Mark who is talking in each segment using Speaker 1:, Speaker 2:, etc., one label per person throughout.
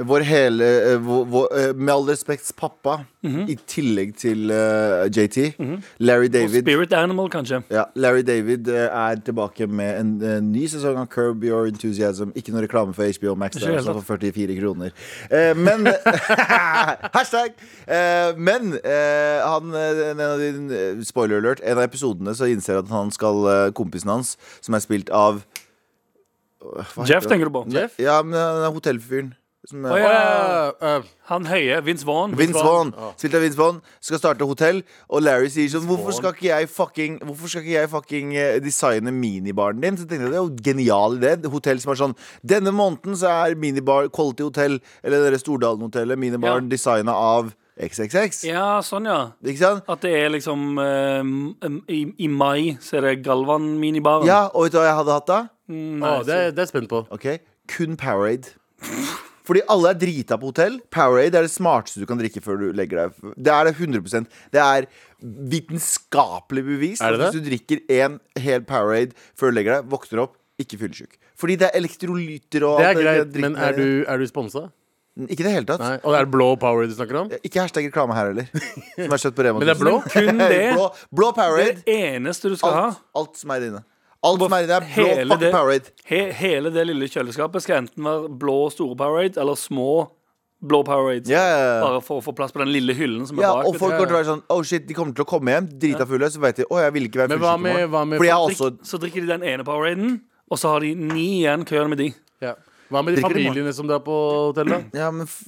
Speaker 1: Vår hele eh, vår, vår, eh, Med all respekts pappa,
Speaker 2: Mhm.
Speaker 1: i tillegg til eh, JT, Larry David
Speaker 2: Spirit Animal, kanskje.
Speaker 1: ja, Larry David eh, er tilbake med en, eh, ny sesong av Curb Your Enthusiasm. Ikke noe reklame for HBO Max,
Speaker 2: Ikke
Speaker 1: der,
Speaker 2: i
Speaker 1: altså
Speaker 2: det
Speaker 1: for 44 kroner. Eh, men Hashtag! Eh, men eh, han eh, en av de, eh, Spoiler alert. En av episodene så innser jeg at han skal eh, kompisen hans, som er spilt av eh, Hva heter
Speaker 2: Jeff,
Speaker 1: han?
Speaker 2: tenker du på?
Speaker 1: Jeff? Ja, men han er hotellfyren. Som er,
Speaker 2: Å,
Speaker 3: Å,
Speaker 2: ja.
Speaker 3: ja, øh,
Speaker 2: Han høye. Vince Vaughn.
Speaker 1: Vince Vaughn, spilt av Vince Vaughn, skal starte hotell, og Larry sier sånn Hvorfor skal ikke jeg fucking, hvorfor skal ikke jeg fucking eh, designe minibaren din? Så tenkte jeg det er jo en genial idé. Et Hotell som er sånn Denne måneden så er minibar Quality Hotel, eller det der Stordalen-hotellet, minibaren
Speaker 2: Ja.
Speaker 1: designa av XXX.
Speaker 2: Ja, sånn, ja.
Speaker 1: Ikke sant?
Speaker 2: At det er liksom eh, um, i, I mai så er det Galvan-minibaren.
Speaker 1: Ja, og vet du hva jeg hadde hatt da?
Speaker 3: å, det, er- det er jeg spent på.
Speaker 1: Ok, kun Powerade Fordi alle er drita på hotell Powerade er det smarteste du kan drikke før du legger deg Det er det 100% Det er vitenskapelig bevis
Speaker 3: Er det
Speaker 1: at Hvis
Speaker 3: det?
Speaker 1: du drikker en hel Powerade før du legger deg Våkner opp, ikke fyllesyk Fordi det er elektrolyter og
Speaker 3: Det er
Speaker 1: alt
Speaker 3: greit,
Speaker 1: dritten
Speaker 3: men er
Speaker 1: der.
Speaker 3: du, er du sponsa?
Speaker 1: Ikke i det hele tatt
Speaker 3: Nei. Og det er blå power du snakker om?
Speaker 1: Ikke hashtag reklame her heller Som er kjøtt på Rema
Speaker 3: Men det er blå?
Speaker 1: 1000.
Speaker 2: Kun det.
Speaker 1: blå, blå
Speaker 2: Det
Speaker 1: Powerade
Speaker 2: er det eneste du skal ha.
Speaker 1: alt, alt som er inne Alt som er inne er blå
Speaker 2: Hele
Speaker 1: fuck
Speaker 2: det-
Speaker 1: Powerade
Speaker 2: He, hele det lille kjøleskapet skal enten være blå store Powerade eller små blå Powerades.
Speaker 1: Ja, ja, ja.
Speaker 2: Bare for å få plass på den lille hyllen som er
Speaker 1: Ja,
Speaker 2: bak.
Speaker 1: og folk
Speaker 3: ja.
Speaker 1: kommer til å være sånn Oh shit, de kommer til å komme hjem drita fulle. Så vet de å, jeg vil ikke være
Speaker 3: Men hva
Speaker 1: fullsyk i
Speaker 3: med- hva
Speaker 1: morgen.
Speaker 3: med
Speaker 1: Fordi jeg har
Speaker 2: Drikk,
Speaker 1: også
Speaker 2: Så drikker de den ene Poweraden, og så har de ni igjen køen med de.
Speaker 3: Ja. Hva med de
Speaker 1: Drikker du
Speaker 3: familiene som drar på hotellet? da?
Speaker 1: ja, men f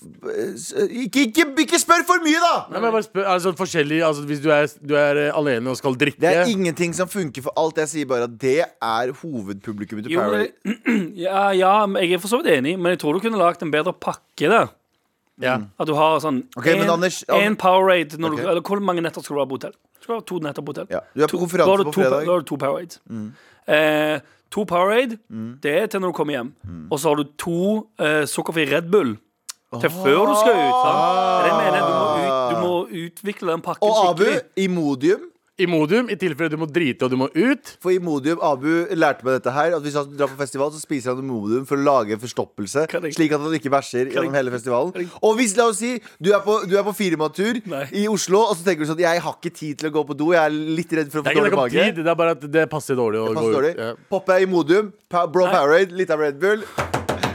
Speaker 1: s- ikke, ikke, ikke spør for mye, da!
Speaker 3: Nei, men jeg bare spør, altså, forskjellig, altså, hvis du er, du er eh, alene og skal drikke
Speaker 1: Det er ingenting som funker for alt. Jeg sier bare at det er hovedpublikummet til
Speaker 2: Jo,
Speaker 1: Power.
Speaker 2: men, ja, ja, jeg er for så vidt enig, men jeg tror du kunne lagd en bedre pakke der.
Speaker 3: ja.
Speaker 2: At du har sånn
Speaker 1: Ok, men Anders-
Speaker 2: en Powerade
Speaker 1: Ok.
Speaker 2: når du, eller Hvor mange netter skal du være på hotell? Du skal ha to netter på hotell.
Speaker 1: Ja. Du er på
Speaker 2: To-
Speaker 1: konferanse
Speaker 2: da har du
Speaker 1: på
Speaker 2: to-
Speaker 1: fredag. Mm.
Speaker 2: Da har du to Powerades. Eh, to Powerade, det er til når du kommer hjem.
Speaker 1: Mm.
Speaker 2: Og så har du to eh, sukkerfri Red Bull. Til før du skal ut. Sant? Det er det jeg mener, du, må ut, du må utvikle den pakken
Speaker 1: Ah. Og Abu,
Speaker 2: skikkelig.
Speaker 1: Imodium.
Speaker 3: Imodium, i tilfelle du må drite og du må ut.
Speaker 1: For Imodium, Abu lærte meg dette her. At hvis han drar på festival, så spiser han Imodium for å lage forstoppelse.
Speaker 2: Kan jeg-
Speaker 1: Slik at han ikke bæsjer gjennom hele festivalen.
Speaker 2: jeg-
Speaker 1: Og hvis, la oss si, du er på, du er på firmatur
Speaker 2: Nei.
Speaker 1: i Oslo, og så tenker du sånn Jeg har ikke tid til å gå på do. Jeg er litt redd for å få
Speaker 3: Det er ikke
Speaker 1: dårlig
Speaker 3: snakk om
Speaker 1: mage.
Speaker 3: tid, det er bare at det passer dårlig å
Speaker 1: Pass
Speaker 3: gå
Speaker 1: dårlig.
Speaker 3: ut. Ja.
Speaker 1: Popper jeg i Modium, pa Blå Powerade, litt av Red Bull.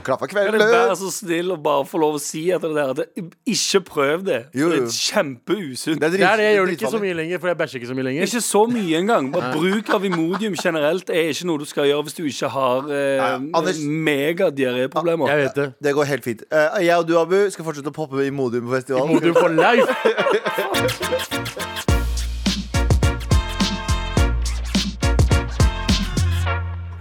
Speaker 1: Klapp av
Speaker 2: Kan jeg være
Speaker 1: kvelden.
Speaker 2: så snill og bare få lov å si etter det der at ikke prøv det.
Speaker 1: Jo,
Speaker 2: For det
Speaker 1: jo.
Speaker 2: er kjempeusunt.
Speaker 1: drit-
Speaker 3: Det er det, jeg gjør det ikke
Speaker 1: dritfarlig.
Speaker 3: så mye lenger, for jeg bæsjer ikke så mye lenger.
Speaker 2: Ikke så mye engang. Bare bruk av Imodium generelt er ikke noe du skal gjøre hvis du ikke har eh,
Speaker 1: Nei, Anders-
Speaker 2: megadiaréproblemer.
Speaker 3: Jeg vet det.
Speaker 1: Det går helt fint. Eh, jeg og du, Abu, skal fortsette å poppe i Modium på festivalen.
Speaker 3: Imodium for life!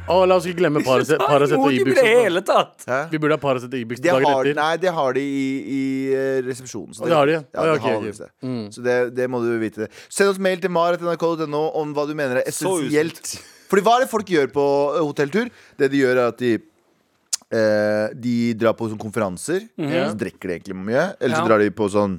Speaker 3: Å, la oss ikke glemme Paracet Paracet og
Speaker 2: Imodium i
Speaker 3: Ibux.
Speaker 2: det hele tatt!
Speaker 1: Hæ?
Speaker 3: Vi burde ha Paracet og Ibux
Speaker 1: Det
Speaker 3: dagen
Speaker 1: har,
Speaker 3: etter.
Speaker 1: nei, det har de i, i eh, resepsjonen. så
Speaker 3: Å, det har de, ja.
Speaker 1: det
Speaker 3: Å, ja, ok,
Speaker 1: har
Speaker 3: ok. Mm.
Speaker 1: de seg. Så det, det må du vite. Send oss mail til mar.nrk.no om hva du mener er
Speaker 2: Så usunt.
Speaker 1: essensielt. Fordi hva er det folk gjør på eh, hotelltur? Det de gjør, er at de eh, De drar på sånne konferanser.
Speaker 3: Mhm.
Speaker 1: Så drikker de egentlig mye. Eller så
Speaker 2: Ja.
Speaker 1: drar de på sånn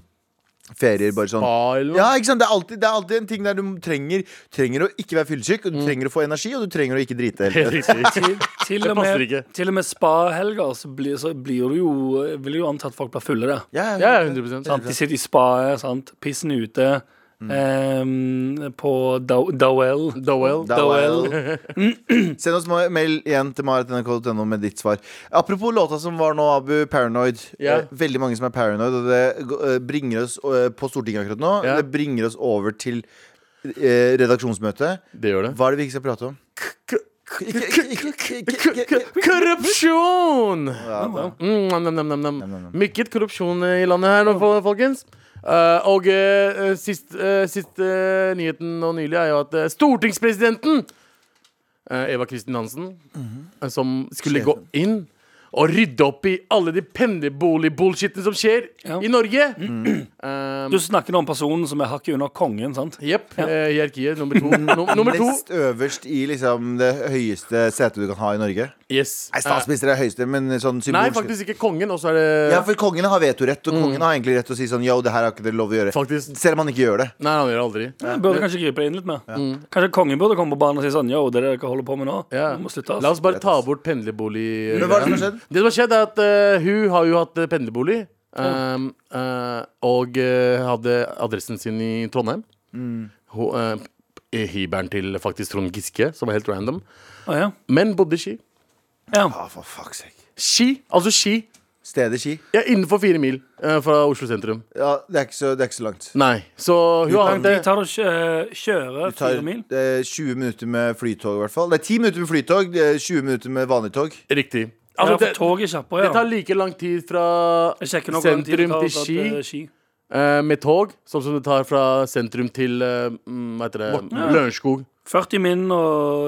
Speaker 1: ferier. Bare sånn
Speaker 3: Ah, eller noe.
Speaker 1: Ja, ikke sant? Det er alltid, det er alltid en ting der du trenger Trenger å ikke være fyllesyk,
Speaker 3: Mm.
Speaker 1: og du trenger å få energi, og du trenger å ikke drite.
Speaker 3: Helt
Speaker 1: Helt.
Speaker 3: riktig.
Speaker 2: Til, til,
Speaker 3: Det
Speaker 2: og
Speaker 3: passer
Speaker 2: med,
Speaker 3: ikke.
Speaker 2: til og med spahelger så blir, så blir du jo Vil jo anta at folk blir fulle der.
Speaker 1: Ja,
Speaker 3: Ja, ja, 100
Speaker 1: Sånn.
Speaker 2: Sant? De sitter i spaet, sant? pissen ute.
Speaker 3: Mm.
Speaker 2: eh, på Dow- Dowell.
Speaker 3: Dowell.
Speaker 1: Dowell.
Speaker 2: Dowell.
Speaker 1: Send oss ma- mail igjen til marit.nrk.no med ditt svar. Apropos låta som var nå, Abu, 'Paranoid'.
Speaker 3: Ja.
Speaker 1: Eh, Veldig mange som er paranoid, og det g- eh, bringer oss eh, på Stortinget akkurat nå.
Speaker 3: Ja.
Speaker 1: Det bringer oss over til eh, redaksjonsmøtet.
Speaker 3: Det gjør det.
Speaker 1: Hva er det vi ikke skal prate om?
Speaker 3: Korrupsjon!
Speaker 1: Ja, da.
Speaker 3: Mm, nam, nam, nam, nam, nam. Mykket korrupsjon eh, i landet her nå, fol- folkens. Eh, og eh, eh, sist, eh, sist eh, nyheten nå nylig er jo at eh, stortingspresidenten eh, Eva Kristin Hansen, eh, som skulle gå inn og rydde opp i alle de pendlerbolig-bullshiten som skjer
Speaker 2: Ja.
Speaker 3: i Norge. Eh,
Speaker 2: Du snakker nå om personen som er hakket under kongen, sant?
Speaker 3: Jepp. eh, hierarkiet nummer to. Num- nummer to.
Speaker 1: Nest øverst i liksom det høyeste setet du kan ha i Norge.
Speaker 3: Yes.
Speaker 1: Nei, statsminister er høyeste, men sånn
Speaker 3: Eh, nei,
Speaker 1: symbolsk
Speaker 3: faktisk Mm. ikke kongen. Og så er det
Speaker 1: Ja, for kongen har vetorett, og kongen har egentlig rett til å si sånn Yo, det her har ikke dere lov å gjøre.
Speaker 3: Faktisk.
Speaker 1: Selv om han ikke gjør det.
Speaker 3: Nei, han gjør det aldri.
Speaker 2: Jeg burde kanskje gripe det inn litt mer. Kanskje kongen burde komme på banen og si sånn Yo, det er det dere holder på med nå,
Speaker 3: Ja.
Speaker 2: må slutte.
Speaker 3: La
Speaker 2: ass.
Speaker 3: oss bare ta bort pendlerbolig.
Speaker 1: Men hva er det som har skjedd?
Speaker 3: Det som har skjedd, er at eh, hun har jo hatt eh, pendlerbolig. ehm, eh, og eh, hadde adressen sin i Trondheim.
Speaker 1: Mm.
Speaker 3: Ho- eh, I hybelen til faktisk Trond Giske, som var helt random.
Speaker 2: Å, ja.
Speaker 3: Men bodde i Ski.
Speaker 2: Ja.
Speaker 1: Ah, for fuck's sake.
Speaker 3: Ski, altså Ski.
Speaker 1: Stedet Ski.
Speaker 3: Ja, innenfor fire mil eh, fra Oslo sentrum.
Speaker 1: Ja, det er ikke så, det er ikke så langt.
Speaker 3: Nei, så hun
Speaker 1: Vi
Speaker 3: har
Speaker 1: kan-
Speaker 3: hatt det.
Speaker 2: Vi tar og kjø eh, kjører
Speaker 1: Det tar
Speaker 2: fire mil.
Speaker 1: eh, 20 minutter med flytog, i hvert fall. Det er 10 minutter med flytog, det er 20 minutter med vanlig tog.
Speaker 3: Riktig.
Speaker 2: Altså,
Speaker 3: Altså,
Speaker 2: ja, for
Speaker 3: det,
Speaker 2: toget er kjappere,
Speaker 3: det
Speaker 2: ja.
Speaker 3: tar like lang tid fra
Speaker 2: Jeg sjekker nå hvordan tid det
Speaker 3: sentrum
Speaker 2: tar å
Speaker 3: til
Speaker 2: ta
Speaker 3: Ski
Speaker 2: til Ski.
Speaker 3: eh, med tog, sånn som det tar fra sentrum til eh, mm, hva heter det, Lørenskog.
Speaker 2: 40 min å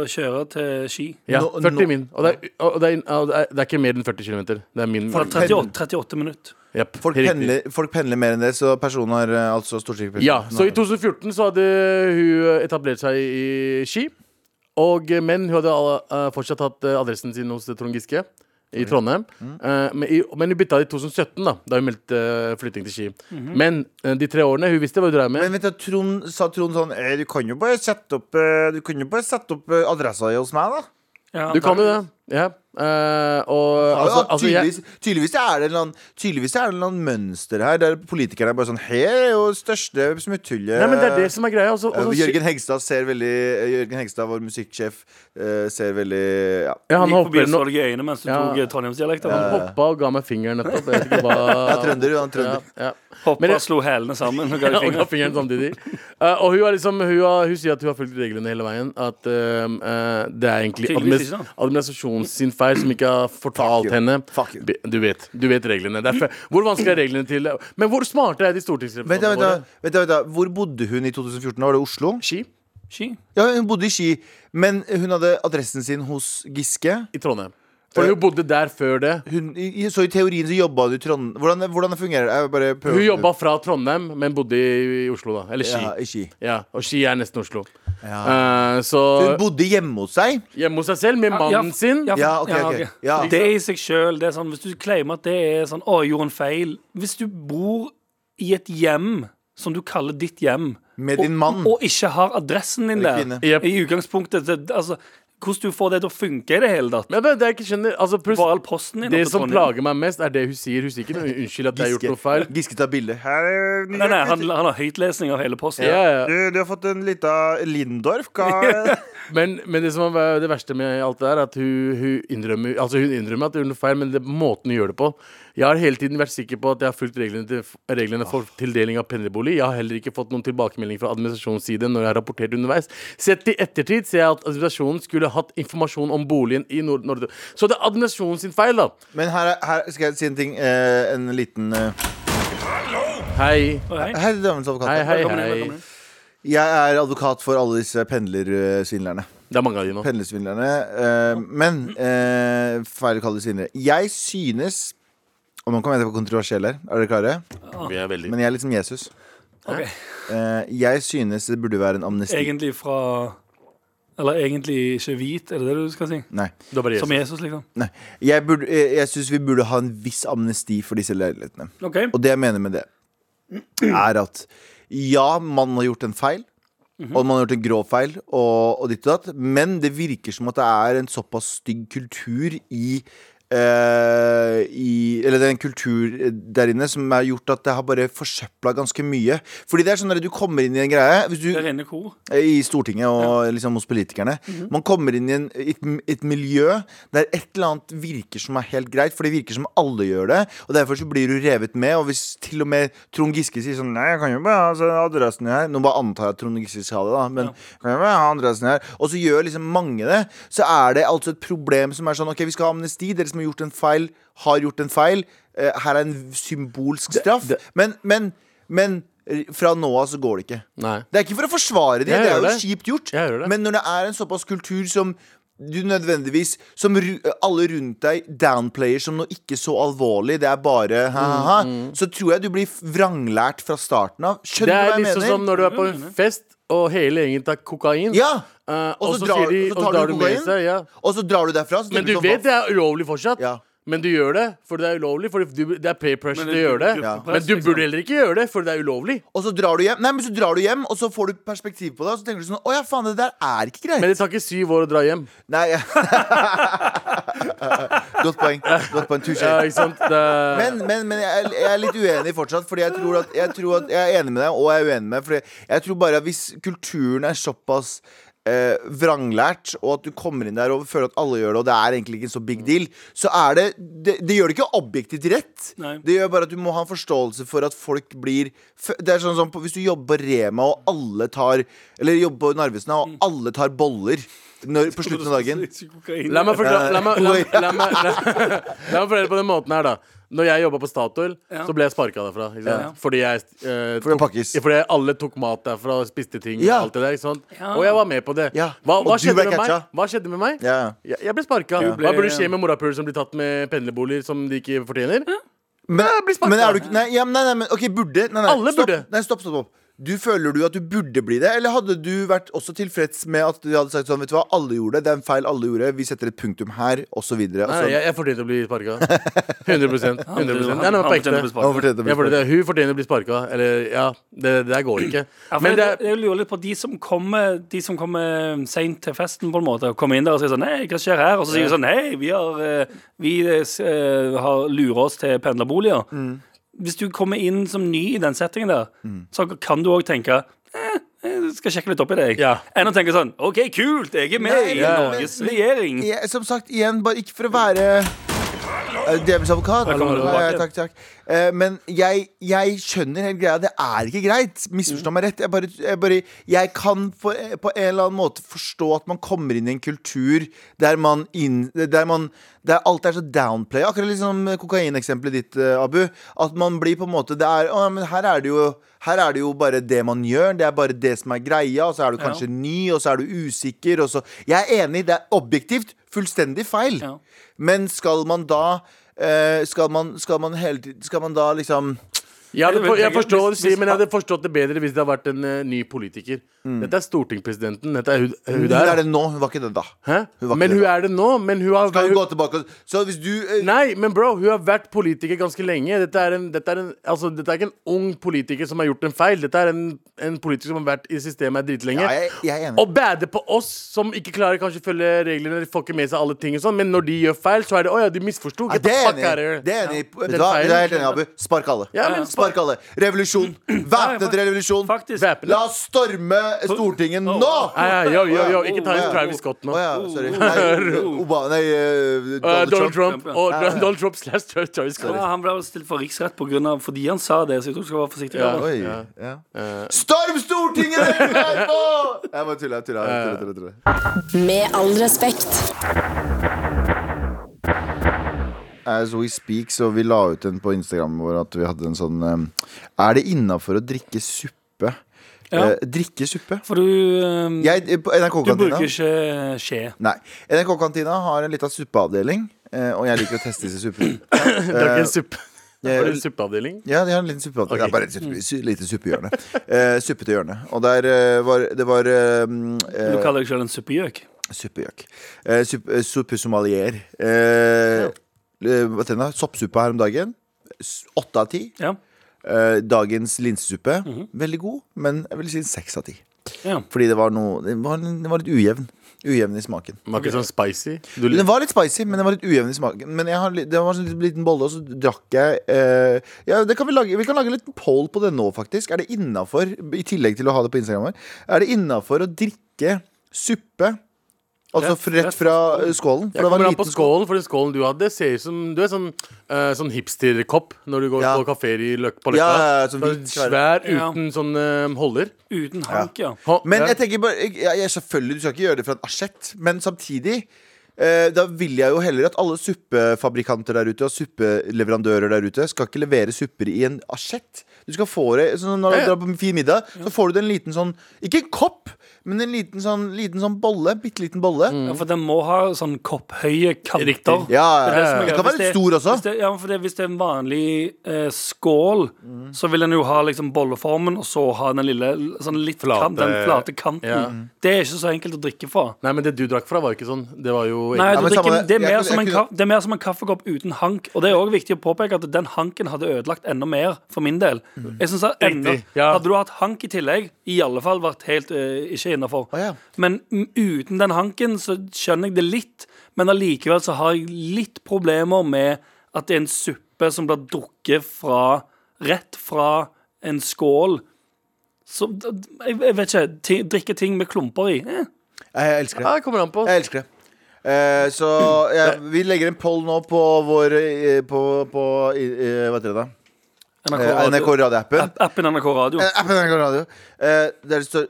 Speaker 2: kjøre til Ski.
Speaker 3: Ja,
Speaker 1: Nå-
Speaker 3: 40
Speaker 1: nå-
Speaker 3: min. Og det er, og det er, og det er, det er ikke mer enn 40 km. Det er min.
Speaker 2: Fra 38, 38 minutter.
Speaker 3: Yep,
Speaker 1: Folk pendler, folk pendler mer enn det, så personen har eh, altså stort sett
Speaker 3: Ja, så i 2014 så hadde hun eh, etablert seg i Ski. Og, men hun hadde eh, fortsatt hatt eh, adressen sin hos Trond Giske i Trondheim.
Speaker 1: Mm.
Speaker 3: Eh, men, i, men hun bytta i 2017, da da hun meldte eh, flytting til Ski. Men eh, de tre årene hun visste hva hun drev med.
Speaker 1: Mhm. Men vet du, Trond, sa Trond sånn eh, Du kan jo bare sette opp, eh, du kan jo bare sette opp eh, adressa hos meg, da.
Speaker 2: Ja,
Speaker 3: du kan jo det.
Speaker 2: antageligvis.
Speaker 3: Ja. Eh, og altså,
Speaker 1: Altså,
Speaker 3: altså jeg,
Speaker 1: tydeligvis, tydeligvis er det en eller annen, tydeligvis er det en eller annen mønster her, der politikerne er bare sånn Her er jo største smutthullet
Speaker 3: Nei, men det er det som er greia. Altså,
Speaker 1: Eh,
Speaker 3: altså,
Speaker 1: Jørgen Hegstad ser veldig eh, Jørgen Hegstad, vår musikksjef, eh, ser veldig ja.
Speaker 3: ja, han
Speaker 2: Gikk forbi
Speaker 3: hopper
Speaker 2: og
Speaker 3: nå.
Speaker 2: så deg i øynene mens du
Speaker 3: Ja.
Speaker 2: tok eh, trondheimsdialekten.
Speaker 3: Han hoppa og ga meg fingeren nettopp. Jeg vet ikke hva
Speaker 1: Han er trønder, han er trønder.
Speaker 3: Ja, ja. Men
Speaker 2: Hoppa
Speaker 3: jeg-
Speaker 2: og slo hælene sammen og ga
Speaker 3: Ja,
Speaker 2: deg
Speaker 3: og ga
Speaker 2: fingeren.
Speaker 3: fingeren samtidig. Eh, og hun, er liksom, hun, har, hun sier at hun har fulgt reglene hele veien. At ehm, eh, det er egentlig
Speaker 2: Tydeligvis
Speaker 3: administ
Speaker 2: ikke,
Speaker 3: administrasjonen sin feil som ikke har fortalt
Speaker 1: Fuck you.
Speaker 3: henne.
Speaker 1: Fuck you.
Speaker 3: Be- Du vet, du vet reglene. Det er fe- hvor vanskelig er reglene til Men hvor smarte er de
Speaker 1: Vent, da,
Speaker 3: stortingsrepresentantene
Speaker 1: vent, da,
Speaker 3: våre?
Speaker 1: vent, da, vent, da. Hvor bodde hun i 2014? Var det Oslo?
Speaker 3: Ski?
Speaker 2: Ski.
Speaker 1: Ja, hun bodde i Ski, men hun hadde adressen sin hos Giske.
Speaker 3: I Trondheim. For hun bodde der før det.
Speaker 1: Hun, i, i- så i teorien så jobba hun i Trondheim. Hvordan, hvordan det fungerer det? Jeg bare prøver-
Speaker 3: Hun jobba fra Trondheim, men bodde i, i Oslo, da. Eller Ski.
Speaker 1: ja,
Speaker 3: Ja,
Speaker 1: i Ski.
Speaker 3: Og Ski er nesten Oslo.
Speaker 1: Ja.
Speaker 3: Eh, så
Speaker 1: Hun bodde hjemme hos seg.
Speaker 3: hjemme hos seg selv, med
Speaker 2: Ja, ja,
Speaker 3: mannen sin.
Speaker 2: ja,
Speaker 1: Ja, ok, ok.
Speaker 2: ok.
Speaker 1: Ja.
Speaker 2: Det i seg sjøl, det er sånn Hvis du claimer at det er sånn Å, jeg gjorde en feil. Hvis du bor i et hjem som du kaller ditt hjem,
Speaker 1: Med din mann.
Speaker 2: og, og ikke har adressen din der
Speaker 1: Eller kvinne.
Speaker 3: Jep.
Speaker 2: I utgangspunktet det, Altså, hvordan du får det til å funke i det hele tatt?
Speaker 3: Men det, det jeg ikke skjønner altså, pluss-
Speaker 2: Var all posten din
Speaker 3: Det
Speaker 2: oppe i
Speaker 3: som
Speaker 2: Trondheim?
Speaker 3: plager meg mest, er det hun sier. Hun sier ikke noe unnskyld at jeg har gjort
Speaker 1: Giske,
Speaker 3: noe feil.
Speaker 1: Giske tar bilde. Her er-
Speaker 2: Nei, nei, han, han har høytlesning av hele posten.
Speaker 3: Ja, ja.
Speaker 1: Du, du har fått en lita Lindorf. Hva
Speaker 3: Men, men det som er det verste med alt det der, er at hun, hun, innrømmer, altså hun innrømmer at hun gjør noe feil, men det er måten hun gjør det på. Jeg har hele tiden vært sikker på at jeg har fulgt reglene, til, reglene for tildeling av pendlerbolig. Jeg har heller ikke fått noen tilbakemelding fra administrasjonens side når jeg har rapportert underveis. Sett i ettertid ser jeg at administrasjonen skulle hatt informasjon om boligen i Nord-Norge. Så det er administrasjonen sin feil, da.
Speaker 1: Men her, er- her skal jeg si en ting. Eh, en liten eh,
Speaker 3: Hei.
Speaker 2: Å, hei.
Speaker 1: Hei, damen som
Speaker 3: Hei,
Speaker 1: advokat.
Speaker 3: hei,
Speaker 2: Velkommen inn,
Speaker 3: hei.
Speaker 2: velkommen inn.
Speaker 1: Jeg er advokat for alle disse pendlersvindlerne.
Speaker 3: Det er mange av de nå.
Speaker 1: Pendlersvindlerne. eh, men eh, feil å kalle det svindlere. Jeg synes Og nå kommer jeg til å være kontroversiell her. Er dere klare?
Speaker 3: Vi er veldig
Speaker 1: Men jeg er litt som Jesus.
Speaker 2: Ok.
Speaker 1: Eh, jeg synes det burde være en amnesti.
Speaker 2: Egentlig fra Eller egentlig ikke hvit, er det det du skal si?
Speaker 1: Nei.
Speaker 3: Det er bare
Speaker 2: Som
Speaker 3: Jesus.
Speaker 2: Jesus, liksom?
Speaker 1: Nei. Jeg, burde- eh, jeg syns vi burde ha en viss amnesti for disse leilighetene.
Speaker 2: OK.
Speaker 1: Og det jeg mener med det, er at ja, man har gjort en feil. Og man har gjort en grov feil, og, og ditt og datt. Men det virker som at det er en såpass stygg kultur i, eh, i Eller det er en kultur der inne som har gjort at det har bare forsøpla ganske mye. Fordi det er sånn at du kommer inn i en greie hvis du,
Speaker 2: Det renner kor.
Speaker 1: eh, i Stortinget og liksom hos politikerne. Man kommer inn i en, i et, et miljø der et eller annet virker som er helt greit, for det virker som alle gjør det. Og derfor så blir du revet med. Og hvis til og med Trond Giske sier sånn Nei, jeg kan jo bare ha altså, adressen her. Nå bare antar jeg at Trond Giske sa det, da. Men kan jeg bare ha adressen her? Og så gjør liksom mange det. Så er det altså et problem som er sånn OK, vi skal ha amnesti. Dere som har gjort en feil, har gjort en feil. Eh, her er en symbolsk straff. Men, men, men eh, fra nå av så går det ikke.
Speaker 3: Nei.
Speaker 1: Det er ikke for å forsvare dem,
Speaker 3: Jeg
Speaker 1: det er
Speaker 3: gjør
Speaker 1: jo
Speaker 3: det.
Speaker 1: kjipt gjort.
Speaker 3: Jeg gjør det.
Speaker 1: Men når det er en såpass kultur som du nødvendigvis Som ru- alle rundt deg downplayer som noe ikke så alvorlig, det er bare ha-ha-ha,
Speaker 3: Mm,
Speaker 1: så tror jeg du blir vranglært fra starten av.
Speaker 3: Det
Speaker 1: Skjønner du
Speaker 3: er
Speaker 1: hva jeg
Speaker 3: litt
Speaker 1: mener?
Speaker 3: sånn som når du er på en fest, og hele gjengen tar kokain.
Speaker 1: Ja!
Speaker 3: Eh,
Speaker 1: Og
Speaker 3: og
Speaker 1: så
Speaker 3: så
Speaker 1: drar-
Speaker 3: sier de
Speaker 1: så
Speaker 3: Og
Speaker 1: tar
Speaker 3: så
Speaker 1: du
Speaker 3: drar du med
Speaker 1: kokain?
Speaker 3: seg. Ja.
Speaker 1: Og så drar du sånn, derfra. Så
Speaker 3: Men du vet det er ulovlig fortsatt.
Speaker 1: Ja.
Speaker 3: Men du gjør det, for det er ulovlig. Fordi du, det er pay pressure
Speaker 2: Men
Speaker 3: til å
Speaker 2: det-
Speaker 3: gjøre det.
Speaker 2: gruppepress,
Speaker 3: Men du
Speaker 2: liksom.
Speaker 3: burde heller ikke gjøre det, for det er ulovlig.
Speaker 1: Og så drar du hjem, Nei, men så drar du hjem og så får du perspektiv på det, og så tenker du sånn Å ja, faen, det der er ikke greit.
Speaker 3: Men det tar ikke syv år å dra hjem.
Speaker 1: Nei, ja. Godt poeng. Godt poeng, touché.
Speaker 3: Ja, ikke sant? Det,
Speaker 1: Men, men, men jeg, er- jeg er litt uenig fortsatt, Fordi jeg tror at jeg, tror at jeg er enig med deg, og jeg er uenig med deg. Fordi jeg tror bare at hvis kulturen er såpass eh, vranglært, og at du kommer inn der og føler at alle gjør det, og det er egentlig ikke en så big deal, så er det Det, det gjør det ikke objektivt rett.
Speaker 2: Nei.
Speaker 1: Det gjør bare at du må ha en forståelse for at folk blir f- Det er sånn som på, hvis du jobber på Rema, og alle tar Eller jobber på Narvesen, og alle tar boller når, på slutten av dagen.
Speaker 3: La meg forklare la meg, la,
Speaker 1: Oi.
Speaker 3: la, meg, la, la meg forklare på den måten her, da. Når jeg jobba på Statoil,
Speaker 2: Ja.
Speaker 3: så ble jeg sparka derfra. Ikke sant?
Speaker 2: Ja.
Speaker 3: Fordi jeg eh,
Speaker 1: For det
Speaker 3: tok-
Speaker 1: pakkes.
Speaker 3: ja, Fordi alle tok mat derfra og spiste ting.
Speaker 1: Ja.
Speaker 3: Og alt det der, ikke sant?
Speaker 2: Ja.
Speaker 3: Og jeg var med på det.
Speaker 1: Ja.
Speaker 3: Hva,
Speaker 1: Og
Speaker 3: hva,
Speaker 1: du
Speaker 3: skjedde
Speaker 1: ble
Speaker 3: med meg?
Speaker 1: catcha.
Speaker 3: hva skjedde med meg?
Speaker 1: Ja.
Speaker 3: Jeg, jeg ble sparka.
Speaker 2: Du
Speaker 3: Hva
Speaker 2: ble-
Speaker 3: burde skje med morapuler som blir tatt med pendlerboliger som de ikke fortjener?
Speaker 1: Men,
Speaker 3: blir sparket.
Speaker 1: men er du ikke- nei, ja, men nei, nei, men ok, burde nei, nei,
Speaker 3: Alle
Speaker 1: stopp,
Speaker 3: burde.
Speaker 1: Nei, stopp, stopp, stopp du, Føler du at du burde bli det, eller hadde du vært også tilfreds med at du hadde sagt sånn, vet du hva, alle gjorde det, det er en feil alle gjorde, vi setter et punktum her, og så videre og
Speaker 3: Nei,
Speaker 1: så,
Speaker 3: jeg, jeg fortjente å bli sparka. 100 100 Nei, nei, på ekte.
Speaker 1: Han fortjente å bli
Speaker 3: Jeg fortjente- Hun fortjener å bli sparka. Eller, ja, det det der går ikke. Men det er
Speaker 2: Jeg lurer litt på de som kommer De som kommer seint til festen, på en måte. og Kommer inn der og sier sånn Hei, hva skjer her? Og så sier de sånn Hei, vi har eh, Vi eh, s- eh, har lurer oss til pendlerboliger. Hvis du kommer inn som ny i den settingen der, så kan du òg tenke eh, jeg skal sjekke litt opp i deg.
Speaker 3: Ja.
Speaker 2: Enn å tenke sånn OK, kult, jeg er med
Speaker 1: Nei,
Speaker 2: i
Speaker 1: ja.
Speaker 2: Norges regjering.
Speaker 1: Jeg- Som sagt, igjen, bare ikke for å være eh, Djevelens advokat.
Speaker 2: kommer du
Speaker 1: Nei,
Speaker 2: tilbake.
Speaker 1: takk, takk. Eh, Men jeg, jeg skjønner hele greia. Det er ikke greit. Misforstå meg rett. Jeg, bare, jeg, bare, jeg kan på, på en eller annen måte forstå at man kommer inn i en kultur der man inn, Der man der alt er så downplay. Akkurat liksom kokaineksempelet ditt, eh, Abu. At man blir på en måte Det er Å, men her er det jo her er det jo bare det man gjør, det er bare det som er greia. Og så er du kanskje ny, og så er du usikker. Og så. Jeg er enig, det er objektivt fullstendig feil.
Speaker 2: Ja.
Speaker 1: Men skal man da eh, skal, man, skal man hele tiden Skal man da liksom
Speaker 3: Jeg, hadde,
Speaker 2: Eller,
Speaker 3: for- jeg
Speaker 2: tenker-
Speaker 3: forstår hva du
Speaker 2: hvis-
Speaker 3: sier,
Speaker 2: hvis-
Speaker 3: men jeg hadde forstått det bedre hvis det hadde vært en eh, ny politiker. Dette er stortingspresidenten. Dette er hun, hun
Speaker 1: Mm. Hun er
Speaker 3: der.
Speaker 1: det nå, hun var ikke det da.
Speaker 3: Hæ?
Speaker 1: Hun var ikke
Speaker 3: Men
Speaker 1: det
Speaker 3: hun
Speaker 1: da.
Speaker 3: er det nå. Men hun har
Speaker 1: Skal hun gå tilbake og Så hvis du eh,
Speaker 3: Nei, men bro, hun har vært politiker ganske lenge. Dette er, en, dette, er en, altså, dette er ikke en ung politiker som har gjort en feil. Dette er en, en politiker som har vært i systemet dritlenge.
Speaker 1: Ja, jeg, jeg er enig.
Speaker 3: Å bade på oss som ikke klarer kanskje å følge reglene, eller får ikke med seg alle ting og sånn, men når de gjør feil, så er det 'Å ja, de misforsto'.
Speaker 1: Ja,
Speaker 3: Get
Speaker 1: det
Speaker 3: the
Speaker 1: er
Speaker 3: fuck
Speaker 1: enig.
Speaker 3: out of here.
Speaker 1: Det er enig.
Speaker 3: Ja.
Speaker 1: Vet
Speaker 3: Den
Speaker 1: du hva? Det er helt
Speaker 3: feilen-
Speaker 1: enig, Abu. Spark alle.
Speaker 3: Ja, men
Speaker 1: Spark alle. Revolusjon. Væpnet revolusjon.
Speaker 2: Faktisk.
Speaker 3: Væpnet.
Speaker 1: La oss storme Stortinget nå!
Speaker 3: Nei, nei, yo, yo, yo, ikke ta
Speaker 1: Å,
Speaker 3: inn
Speaker 1: ja.
Speaker 3: Travis Scott nå.
Speaker 1: Å ja, sorry. Nei, Obama, nei eh,
Speaker 3: Eh,
Speaker 1: Donald Trump.
Speaker 3: Trump.
Speaker 2: Trump, ja.
Speaker 3: Og Donald Trump slash Travis Scott.
Speaker 2: Ja, han ble vel stilt for riksrett på grunn av, fordi han sa det, så jeg tror du skal være forsiktig.
Speaker 3: Ja.
Speaker 2: Galvan.
Speaker 1: Oi. Ja. Storm Stortinget! dere er på! Jeg bare tuller. Jeg tuller, jeg tuller, jeg tuller.
Speaker 4: Med all respekt.
Speaker 1: As we speak, så vi la ut en på Instagram vår at vi hadde en sånn eh, Er det innafor å drikke suppe?
Speaker 2: Ja.
Speaker 1: Eh, drikke suppe?
Speaker 2: For du ehm,
Speaker 1: Jeg, eh, på
Speaker 2: Du bruker
Speaker 1: NRK-kantina
Speaker 2: ikke skje.
Speaker 1: Nei. NRK-kantina har en liten suppeavdeling, eh, og jeg liker å teste disse suppene.
Speaker 3: Det er ikke en suppe.
Speaker 1: Eh,
Speaker 3: Var det en suppeavdeling?
Speaker 1: Ja, de har en liten suppeavdeling.
Speaker 3: Ok.
Speaker 1: Det er bare et suppe, su, lite suppehjørne. Eh, suppete hjørne. Og der eh, var det var eh,
Speaker 2: Du
Speaker 1: eh,
Speaker 2: kaller deg selv en suppegjøk.
Speaker 1: Suppegjøk. Eh, sup- eh, Suppe sommelier. Eh, eh, hva heter den da? Soppsuppe her om dagen. S- Åtte av ti.
Speaker 2: Ja.
Speaker 1: Eh, dagens linsesuppe.
Speaker 3: Mhm.
Speaker 1: Veldig god, men jeg vil si seks av ti.
Speaker 2: Ja.
Speaker 1: Fordi det var noe Den var, den var litt ujevn. Ujevn i smaken.
Speaker 3: Den var ikke sånn spicy. Du,
Speaker 1: Den var litt spicy, men den var litt ujevn i smaken. Men jeg har, litt- det var sånn litt liten bolle, og så drakk jeg eh, ja, det kan vi, lage, vi kan lage litt poll på det nå, faktisk. Er det innafor, i tillegg til å ha det på Instagram, her, er det innafor å drikke suppe Altså
Speaker 2: Rett-
Speaker 1: rett, rett fra eh, skålen? For det
Speaker 3: jeg
Speaker 1: var
Speaker 3: kommer
Speaker 1: en
Speaker 3: an på
Speaker 1: liten skål.
Speaker 3: skålen, for den skålen du hadde, ser ut som Du er sånn, eh, sånn hipsterkopp når du går
Speaker 1: Ja.
Speaker 3: på kafeer i løk, på
Speaker 1: Ja, ja,
Speaker 3: Løkka.
Speaker 1: ja, sånn
Speaker 3: Sånn
Speaker 1: hvit,
Speaker 3: svær
Speaker 2: Ja.
Speaker 3: uten sånn eh, holder.
Speaker 2: Uten hank, ja.
Speaker 3: Hå-
Speaker 1: Men
Speaker 3: ja.
Speaker 1: jeg tenker bare jeg, jeg, jeg- Selvfølgelig, du skal ikke gjøre det fra en asjett, men samtidig eh, da vil jeg jo heller at alle suppefabrikanter der ute og suppeleverandører der ute skal ikke levere supper i en asjett. Du skal få det sånn Når du
Speaker 3: Ja, ja.
Speaker 1: drar på en fin middag, så får du det en liten sånn Ikke en kopp, men en liten sånn, liten sånn bolle. Bitte liten bolle.
Speaker 3: Mm.
Speaker 2: Ja, for den må ha sånn kopphøye kanter.
Speaker 1: Ja, ja,
Speaker 2: Det er det som
Speaker 1: ja.
Speaker 2: er
Speaker 1: Det
Speaker 2: greia.
Speaker 1: kan være
Speaker 2: Hvis
Speaker 1: litt stor også.
Speaker 2: Hvis det, ja, for det, hvis det er en vanlig eh, skål,
Speaker 1: Mm.
Speaker 2: så vil den jo ha liksom bolleformen, og så ha den lille sånn litt
Speaker 3: Flate-
Speaker 2: kant, den flate kanten.
Speaker 3: Ja.
Speaker 2: Det er ikke så enkelt å drikke fra.
Speaker 3: Nei, men det du drakk fra, var jo ikke sånn. Det var jo
Speaker 2: Nei,
Speaker 3: egentlig-
Speaker 2: du
Speaker 1: men
Speaker 2: drikker,
Speaker 1: samme det.
Speaker 2: det, er
Speaker 1: Jeg
Speaker 2: mer
Speaker 1: kunne-
Speaker 2: som en,
Speaker 1: jeg
Speaker 2: ka-
Speaker 1: kunne-
Speaker 2: det er mer som en kaffekopp uten hank. Og det er òg viktig å påpeke at den hanken hadde ødelagt enda mer for min del. Jeg synes at enda,
Speaker 3: Mm. Riktig, ja.
Speaker 2: Hadde du hatt hank i tillegg, i alle fall vært helt eh, ikke innafor.
Speaker 1: Å, ja.
Speaker 2: Men mm, uten den hanken så skjønner jeg det litt, men allikevel så har jeg litt problemer med at det er en suppe som blir drukket fra rett fra en skål. Så, d- d- jeg, jeg vet ikke. ti- Drikke ting med klumper i. Eh.
Speaker 1: Jeg elsker det.
Speaker 3: Ja, det kommer an på.
Speaker 1: Jeg elsker det. Eh, så jeg, vi legger en poll nå på vår eh, På, på eh, Hva heter det da? Eh,
Speaker 2: Radio.
Speaker 1: NRK Radio-appen.
Speaker 2: App- Appen NRK Radio.
Speaker 1: Eh, Appen NRK Radio. Eh, der det står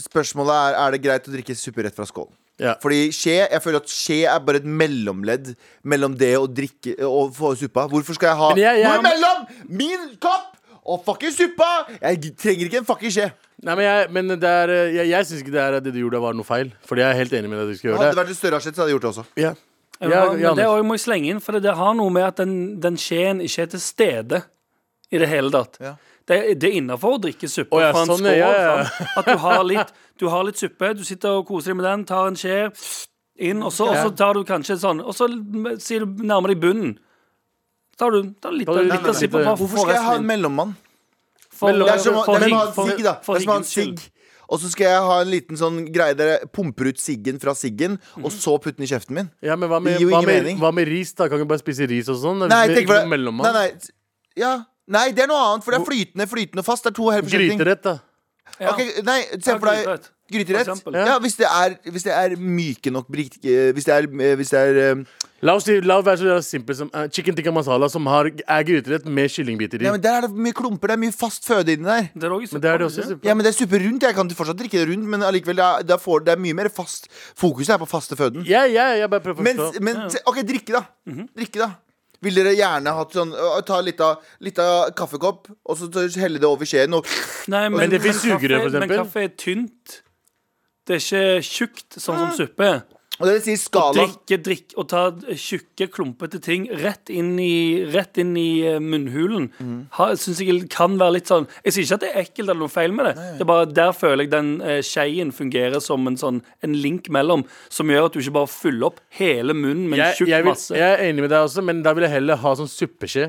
Speaker 1: Spørsmålet er Er det greit å drikke suppe rett fra skålen.
Speaker 3: Ja.
Speaker 1: Fordi skje, jeg føler at skje er bare et mellomledd mellom det å drikke og få suppa. Hvorfor skal jeg ha
Speaker 3: Men jeg- jeg-
Speaker 1: noe mellom min kopp og fucking suppa? Jeg trenger ikke en fucking skje.
Speaker 3: Nei, men jeg, men det er, eh, jeg, jeg syns ikke det, er, det du gjorde, var noe feil. Fordi jeg er helt enig med deg. at du skal
Speaker 1: Hadde
Speaker 3: gjøre
Speaker 1: det
Speaker 3: det
Speaker 1: vært et større asjett, så hadde jeg gjort det også.
Speaker 3: ja. Ja,
Speaker 2: Ja, men
Speaker 3: ja,
Speaker 2: det
Speaker 3: Anders.
Speaker 2: også må jeg slenge inn, for det, det har noe med at den, den skjeen ikke er til stede i det hele tatt.
Speaker 1: Ja.
Speaker 2: Det, det er innafor å drikke suppe
Speaker 3: Å ja,
Speaker 2: fra en
Speaker 3: sånn,
Speaker 2: skål.
Speaker 3: ja, ja.
Speaker 2: sant? At du har, litt, du har litt suppe, du sitter og koser deg med den, tar en skje inn, og så, og så tar du kanskje sånn Og så m- sier du nærmer deg bunnen. Tar du tar litt,
Speaker 3: Tar du
Speaker 2: litt,
Speaker 3: litt-
Speaker 2: av sippen
Speaker 3: litt-
Speaker 2: bare
Speaker 1: Hvorfor skal jeg ha en
Speaker 2: resten inn.
Speaker 1: mellommann?
Speaker 2: For-
Speaker 3: mellom-
Speaker 1: Det er som å det
Speaker 2: for
Speaker 1: er som å ha
Speaker 2: rigg-
Speaker 1: en
Speaker 2: for-
Speaker 1: sigg, da.
Speaker 2: for
Speaker 1: Det er som å ha en
Speaker 2: riggens skyld.
Speaker 1: sigg. Og så skal jeg ha en liten sånn greie der jeg pumper ut siggen fra siggen, og så putte den i kjeften min.
Speaker 3: ja, men hva
Speaker 1: Det
Speaker 3: med,
Speaker 1: gir jo
Speaker 3: hva,
Speaker 1: ingen
Speaker 3: med,
Speaker 1: mening.
Speaker 3: hva med ris, da? Kan vi bare spise ris og sånn?
Speaker 1: Nei,
Speaker 3: Hvis vi-
Speaker 1: tenk for
Speaker 3: ikke noe
Speaker 1: Nei,
Speaker 3: mellommann.
Speaker 1: nei. Ja. Nei, det er noe annet, for det er flytende, flytende og fast. Det er to helt forskjellige ting.
Speaker 3: Gryterett, da.
Speaker 2: Ja.
Speaker 1: Ok, nei, se
Speaker 2: Ja,
Speaker 1: for deg
Speaker 2: gryterett. For
Speaker 1: Gryterett?
Speaker 2: eksempel.
Speaker 1: Ja, hvis det er, hvis det er myke nok brik- eh, Hvis det er, eh, hvis det er eh,
Speaker 3: La oss si, la oss være så simpel som eh, chicken tikka masala, som har, er gryterett med kyllingbiter i.
Speaker 1: Nei, men Der er det mye klumper, det er mye fast føde inni der.
Speaker 2: Det er også
Speaker 3: men det er det
Speaker 2: suppe,
Speaker 3: også.
Speaker 1: Ja, men Det er suppe rundt. Jeg kan fortsatt drikke det rundt, men allikevel, det er, det er, for, det er mye mer fast. Fokuset er på faste føden.
Speaker 3: Ja, ja, jeg bare prøver å
Speaker 1: Men, Mhm.
Speaker 3: forstå.
Speaker 1: men se- OK, drikke, da. Drikke, da. Vil dere gjerne hatt sånn å, Ta litt av, litt av kaffekopp, og så så helle det over skjeen, og
Speaker 2: Nei, men,
Speaker 3: Men det finnes
Speaker 2: kaffe-
Speaker 3: sugerør, for
Speaker 2: Men
Speaker 3: eksempel.
Speaker 2: kaffe er tynt. Det er ikke tjukt, sånn som suppe. er.
Speaker 1: og dere sier skala
Speaker 2: Drikke, drikk og ta tjukke, klumpete ting rett inn i, rett inn i eh, munnhulen.
Speaker 3: Mhm.
Speaker 2: Ha- Synes jeg kan være litt sånn Jeg sier ikke at det er ekkelt eller noe feil med det. Det er bare Der føler jeg den eh, skeien fungerer som en sånn En link mellom, som gjør at du ikke bare fyller opp hele munnen med en
Speaker 3: Jeg,
Speaker 2: tjukk
Speaker 3: jeg, vil,
Speaker 2: masse.
Speaker 3: jeg er enig med deg også, men da vil jeg heller ha sånn suppeskje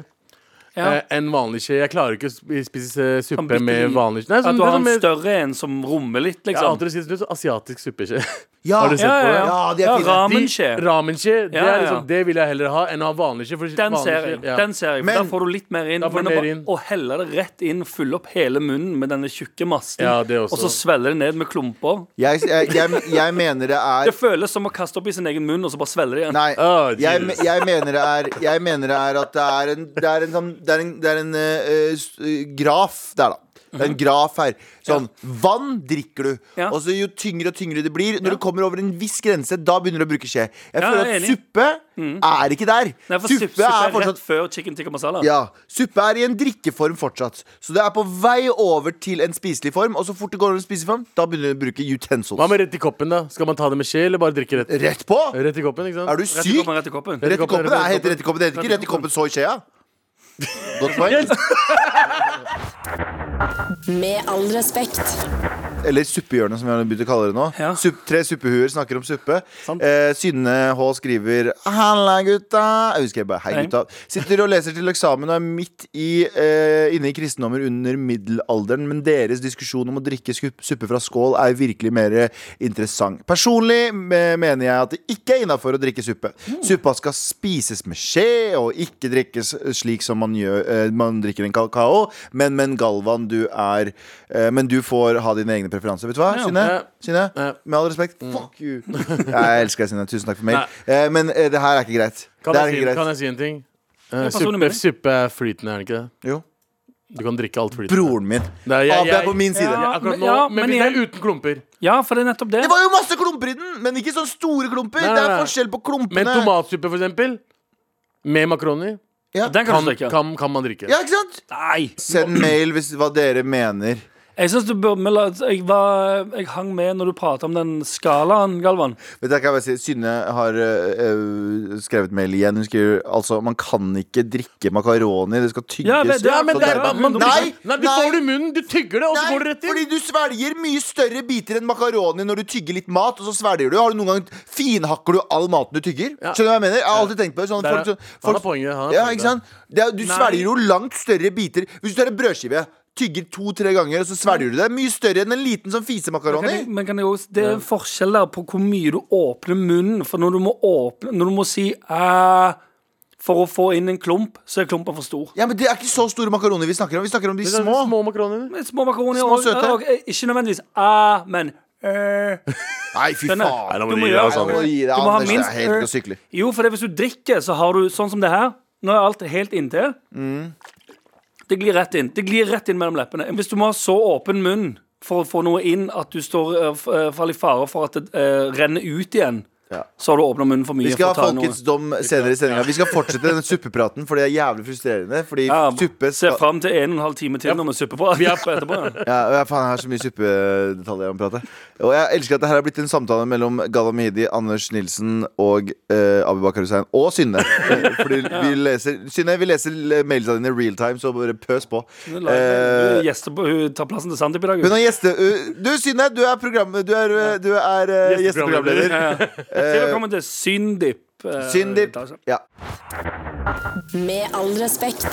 Speaker 2: ja.
Speaker 3: eh, enn vanlig skje. Jeg klarer ikke å sp- spise eh,
Speaker 2: Sånn
Speaker 3: suppe
Speaker 2: bitte
Speaker 3: med
Speaker 2: liten.
Speaker 3: vanlig skje. Nei,
Speaker 2: At
Speaker 3: sånn,
Speaker 2: du har
Speaker 3: det er sånn
Speaker 2: en
Speaker 3: med-
Speaker 2: større en som rommer litt,
Speaker 3: Jeg har
Speaker 2: liksom.
Speaker 3: alltid sett det sånn ut som asiatisk suppeskje.
Speaker 1: Ja,
Speaker 3: Har du sett
Speaker 1: ja,
Speaker 3: på det?
Speaker 1: Ja, de er fine.
Speaker 3: De-
Speaker 2: Ramenskje.
Speaker 3: Ramenskje, det,
Speaker 2: Ja, ja,
Speaker 3: er
Speaker 2: ja.
Speaker 3: liksom, det vil jeg heller ha enn å ha vanlig skje. for
Speaker 2: Den
Speaker 3: vanlig
Speaker 2: ser
Speaker 3: skje-
Speaker 2: jeg.
Speaker 3: ja.
Speaker 2: Den ser jeg.
Speaker 1: Men-
Speaker 2: Men, da får du litt mer inn.
Speaker 3: Da får
Speaker 2: Men
Speaker 3: du
Speaker 2: å
Speaker 3: mer
Speaker 2: bare-
Speaker 3: inn.
Speaker 2: å helle det rett inn, fylle opp hele munnen med denne tjukke massen,
Speaker 3: Ja, det også.
Speaker 2: og så svelle det ned med klumper.
Speaker 1: jeg, jeg, jeg, jeg mener det
Speaker 2: Det
Speaker 1: er
Speaker 2: føles som å kaste opp i sin egen munn, og så bare svelle det igjen.
Speaker 1: Nei.
Speaker 3: Å,
Speaker 1: Jeg,
Speaker 3: Jesus.
Speaker 1: jeg, mener det er, jeg mener det er at det er en, det er en, sånn- det er en, det er en eh, s- eh, graf der, da. Det er en graf her. Sånn, Vann drikker du.
Speaker 2: Mhm. Ja.
Speaker 1: Og så Jo tyngre og tyngre det blir, når du kommer over en viss grense, da begynner du å bruke skje. Jeg
Speaker 2: Ja,
Speaker 1: føler
Speaker 2: jeg
Speaker 1: at
Speaker 2: er enig.
Speaker 1: suppe
Speaker 2: Mhm.
Speaker 1: er ikke der.
Speaker 2: Nei, for suppe, er
Speaker 1: fortsatt
Speaker 2: rett før chicken tikka masala.
Speaker 1: ja, Suppe er i en drikkeform fortsatt. Så det er på vei over til en spiselig form. Og så fort det går over en spiseform, da begynner du å bruke utensils.
Speaker 3: Hva med rett i koppen, da? Skal man ta det med skje, eller bare
Speaker 2: Eh,
Speaker 3: drikke rett?
Speaker 1: Rett på?
Speaker 3: Rett i koppen, ikke sant?
Speaker 1: Er du
Speaker 2: Rett i
Speaker 1: syk?
Speaker 2: koppen, rett i koppen.
Speaker 1: Rett i koppen det er helt rett i koppen. Det heter ikke
Speaker 2: Rett i
Speaker 1: rett i koppen så i skjea. Godt poeng.
Speaker 4: Med all respekt.
Speaker 1: Eller suppehjørnet, som vi har begynt å kalle det nå.
Speaker 2: Ja.
Speaker 1: Supp- tre suppehuer snakker om suppe.
Speaker 3: Sant.
Speaker 1: Eh, Synne H skriver 'Halla, gutta'. Jeg husker jeg bare 'Hei,
Speaker 2: Hei.
Speaker 1: gutta'. Sitter og leser til eksamen og er midt i, eh, inne i kristendommer under middelalderen, men deres diskusjon om å drikke skup- suppe fra skål er virkelig mer interessant. Personlig eh, mener jeg at det ikke er innafor å drikke suppe. Suppa skal spises med skje og ikke drikkes slik som man gjør eh, Man drikker en kakao. Men, men Galvan, du er eh, Men du får ha dine egne preferanser. Vet du hva,
Speaker 2: Ja,
Speaker 1: Synne?
Speaker 3: ja.
Speaker 1: Synne?
Speaker 3: Ja.
Speaker 1: Med all respekt,
Speaker 3: Mm.
Speaker 1: fuck you! jeg elsker deg, Synne. Tusen takk for mail. Eh, men eh, det her er ikke greit.
Speaker 3: Kan,
Speaker 1: det er
Speaker 3: jeg si,
Speaker 1: ikke
Speaker 3: kan
Speaker 1: greit.
Speaker 3: jeg si en ting? Eh,
Speaker 2: er personlig
Speaker 3: suppe,
Speaker 2: mening.
Speaker 3: suppe er flytende, er det ikke det?
Speaker 1: Jo.
Speaker 3: Du kan drikke alt flytende.
Speaker 1: Broren min.
Speaker 3: Nei, jeg-
Speaker 1: Ape er
Speaker 3: jeg-
Speaker 1: på min side.
Speaker 3: Ja,
Speaker 2: Ja,
Speaker 3: akkurat
Speaker 2: men-
Speaker 3: nå,
Speaker 2: ja,
Speaker 3: men
Speaker 2: men
Speaker 3: hvis det er uten klumper.
Speaker 2: Ja, for det er nettopp det.
Speaker 1: Det var jo masse klumper i den, men ikke sånne store klumper.
Speaker 3: Nei, nei,
Speaker 1: Det
Speaker 3: nei.
Speaker 1: er forskjell på klumpene.
Speaker 3: Men tomatsuppe, for eksempel, med makaroni,
Speaker 1: ja.
Speaker 2: Den kan
Speaker 3: kan,
Speaker 2: du drikke.
Speaker 3: kan, kan man drikke.
Speaker 1: ja, ikke sant?
Speaker 3: Mm.
Speaker 2: Nei!
Speaker 1: Send mail hvis hva dere mener.
Speaker 2: Jeg synes du bør, men la- jeg, var, jeg hang med når du pratet om den skalaen, Galvan.
Speaker 1: Vet du, jeg kan bare si, Synne har øh, øh, skrevet mail igjen. Hun skriver altså man kan ikke drikke makaroni. Det skal tygges.
Speaker 2: Ja, men det-
Speaker 3: Ja, men
Speaker 1: Så
Speaker 3: det er,
Speaker 1: derfor-
Speaker 3: man, man,
Speaker 1: nei,
Speaker 3: nei, du får det i munnen, du tygger det, og så
Speaker 1: Nei,
Speaker 3: går det rett inn.
Speaker 1: fordi du svelger mye større biter enn makaroni når du tygger litt mat, og så svelger du. Har du noen gang finhakker du all maten du tygger?
Speaker 3: Ja.
Speaker 1: Skjønner du hva jeg mener? Jeg har alltid tenkt på det. Sånn,
Speaker 3: Der er-
Speaker 1: folk,
Speaker 3: han har
Speaker 1: folk,
Speaker 3: poenget, han har
Speaker 1: ja,
Speaker 3: poenget.
Speaker 1: ikke sant? Det er, du
Speaker 2: Nei.
Speaker 1: svelger jo langt større biter. Hvis du tar en brødskive, tygger to-tre ganger, og så svelger du det. Mye større enn en liten sånn
Speaker 2: Men
Speaker 1: fisemakaroni.
Speaker 2: kan jeg, men kan jeg også, det er en forskjell der på hvor mye du åpner munnen. For når du må, åpne, når du må si æ for å få inn en klump, så er klumpen for stor.
Speaker 1: Ja, men Det er ikke så store makaroni vi snakker om. Vi snakker om de
Speaker 3: Det er sånn
Speaker 1: små.
Speaker 3: små makaronier.
Speaker 2: Men Små makaroni
Speaker 1: Små
Speaker 2: og,
Speaker 1: søte.
Speaker 2: og, og Ikke nødvendigvis æ, men æ.
Speaker 1: Nei, fy faen.
Speaker 2: Skjønner.
Speaker 1: Nei,
Speaker 3: nå må
Speaker 2: Du
Speaker 3: du
Speaker 2: må
Speaker 3: gi deg,
Speaker 2: gjøre-
Speaker 3: altså.
Speaker 1: nå må du gi deg,
Speaker 2: Du må ha
Speaker 1: Anders. Det er
Speaker 2: minst-
Speaker 1: helt ikke å sykle.
Speaker 2: Jo, for det, hvis du drikker, så har du sånn som det her. Nå er alt helt inntil.
Speaker 1: Mm.
Speaker 2: Det glir rett inn. Det glir rett inn mellom leppene. Hvis du må ha så åpen munn for å få noe inn at du står eh, f- eh, faller i fare for at det eh, renner ut igjen,
Speaker 1: Ja.
Speaker 2: så har du åpna munnen for mye.
Speaker 1: Vi skal ha
Speaker 2: for å ta noe.
Speaker 1: folkets dom senere i sendinga. Vi skal fortsette den suppepraten, for det er jævlig frustrerende. Fordi
Speaker 2: Ja,
Speaker 1: suppe
Speaker 2: Se
Speaker 1: skal
Speaker 2: fram til en og en halv time til når vi supper på
Speaker 3: Vi er-
Speaker 2: etterpå. Ja.
Speaker 1: Ja, og jeg, faen, jeg har så mye suppedetaljer om pratet. Og jeg elsker at det her har blitt en samtale mellom Galvan Mehidi, Anders Nilsen og uh, Abubakar Hussein. Og Synne. Eh, Fordi vi leser Synne, vi leser mailsa dine real time, så bare pøs på.
Speaker 2: Hun
Speaker 1: Eh,
Speaker 2: er gjester på- hun tar plassen til Sandeep i dag.
Speaker 1: hun er gjeste... eh, du, Synne, du er, program, du er, eh, du er eh,
Speaker 3: Gjesteprogramleder.
Speaker 1: gjesteprogramleder.
Speaker 2: Ja.
Speaker 1: Eh,
Speaker 2: Til å komme til Syndip. eh,
Speaker 1: Syndip.
Speaker 2: altså.
Speaker 1: Ja.
Speaker 4: Med all respekt.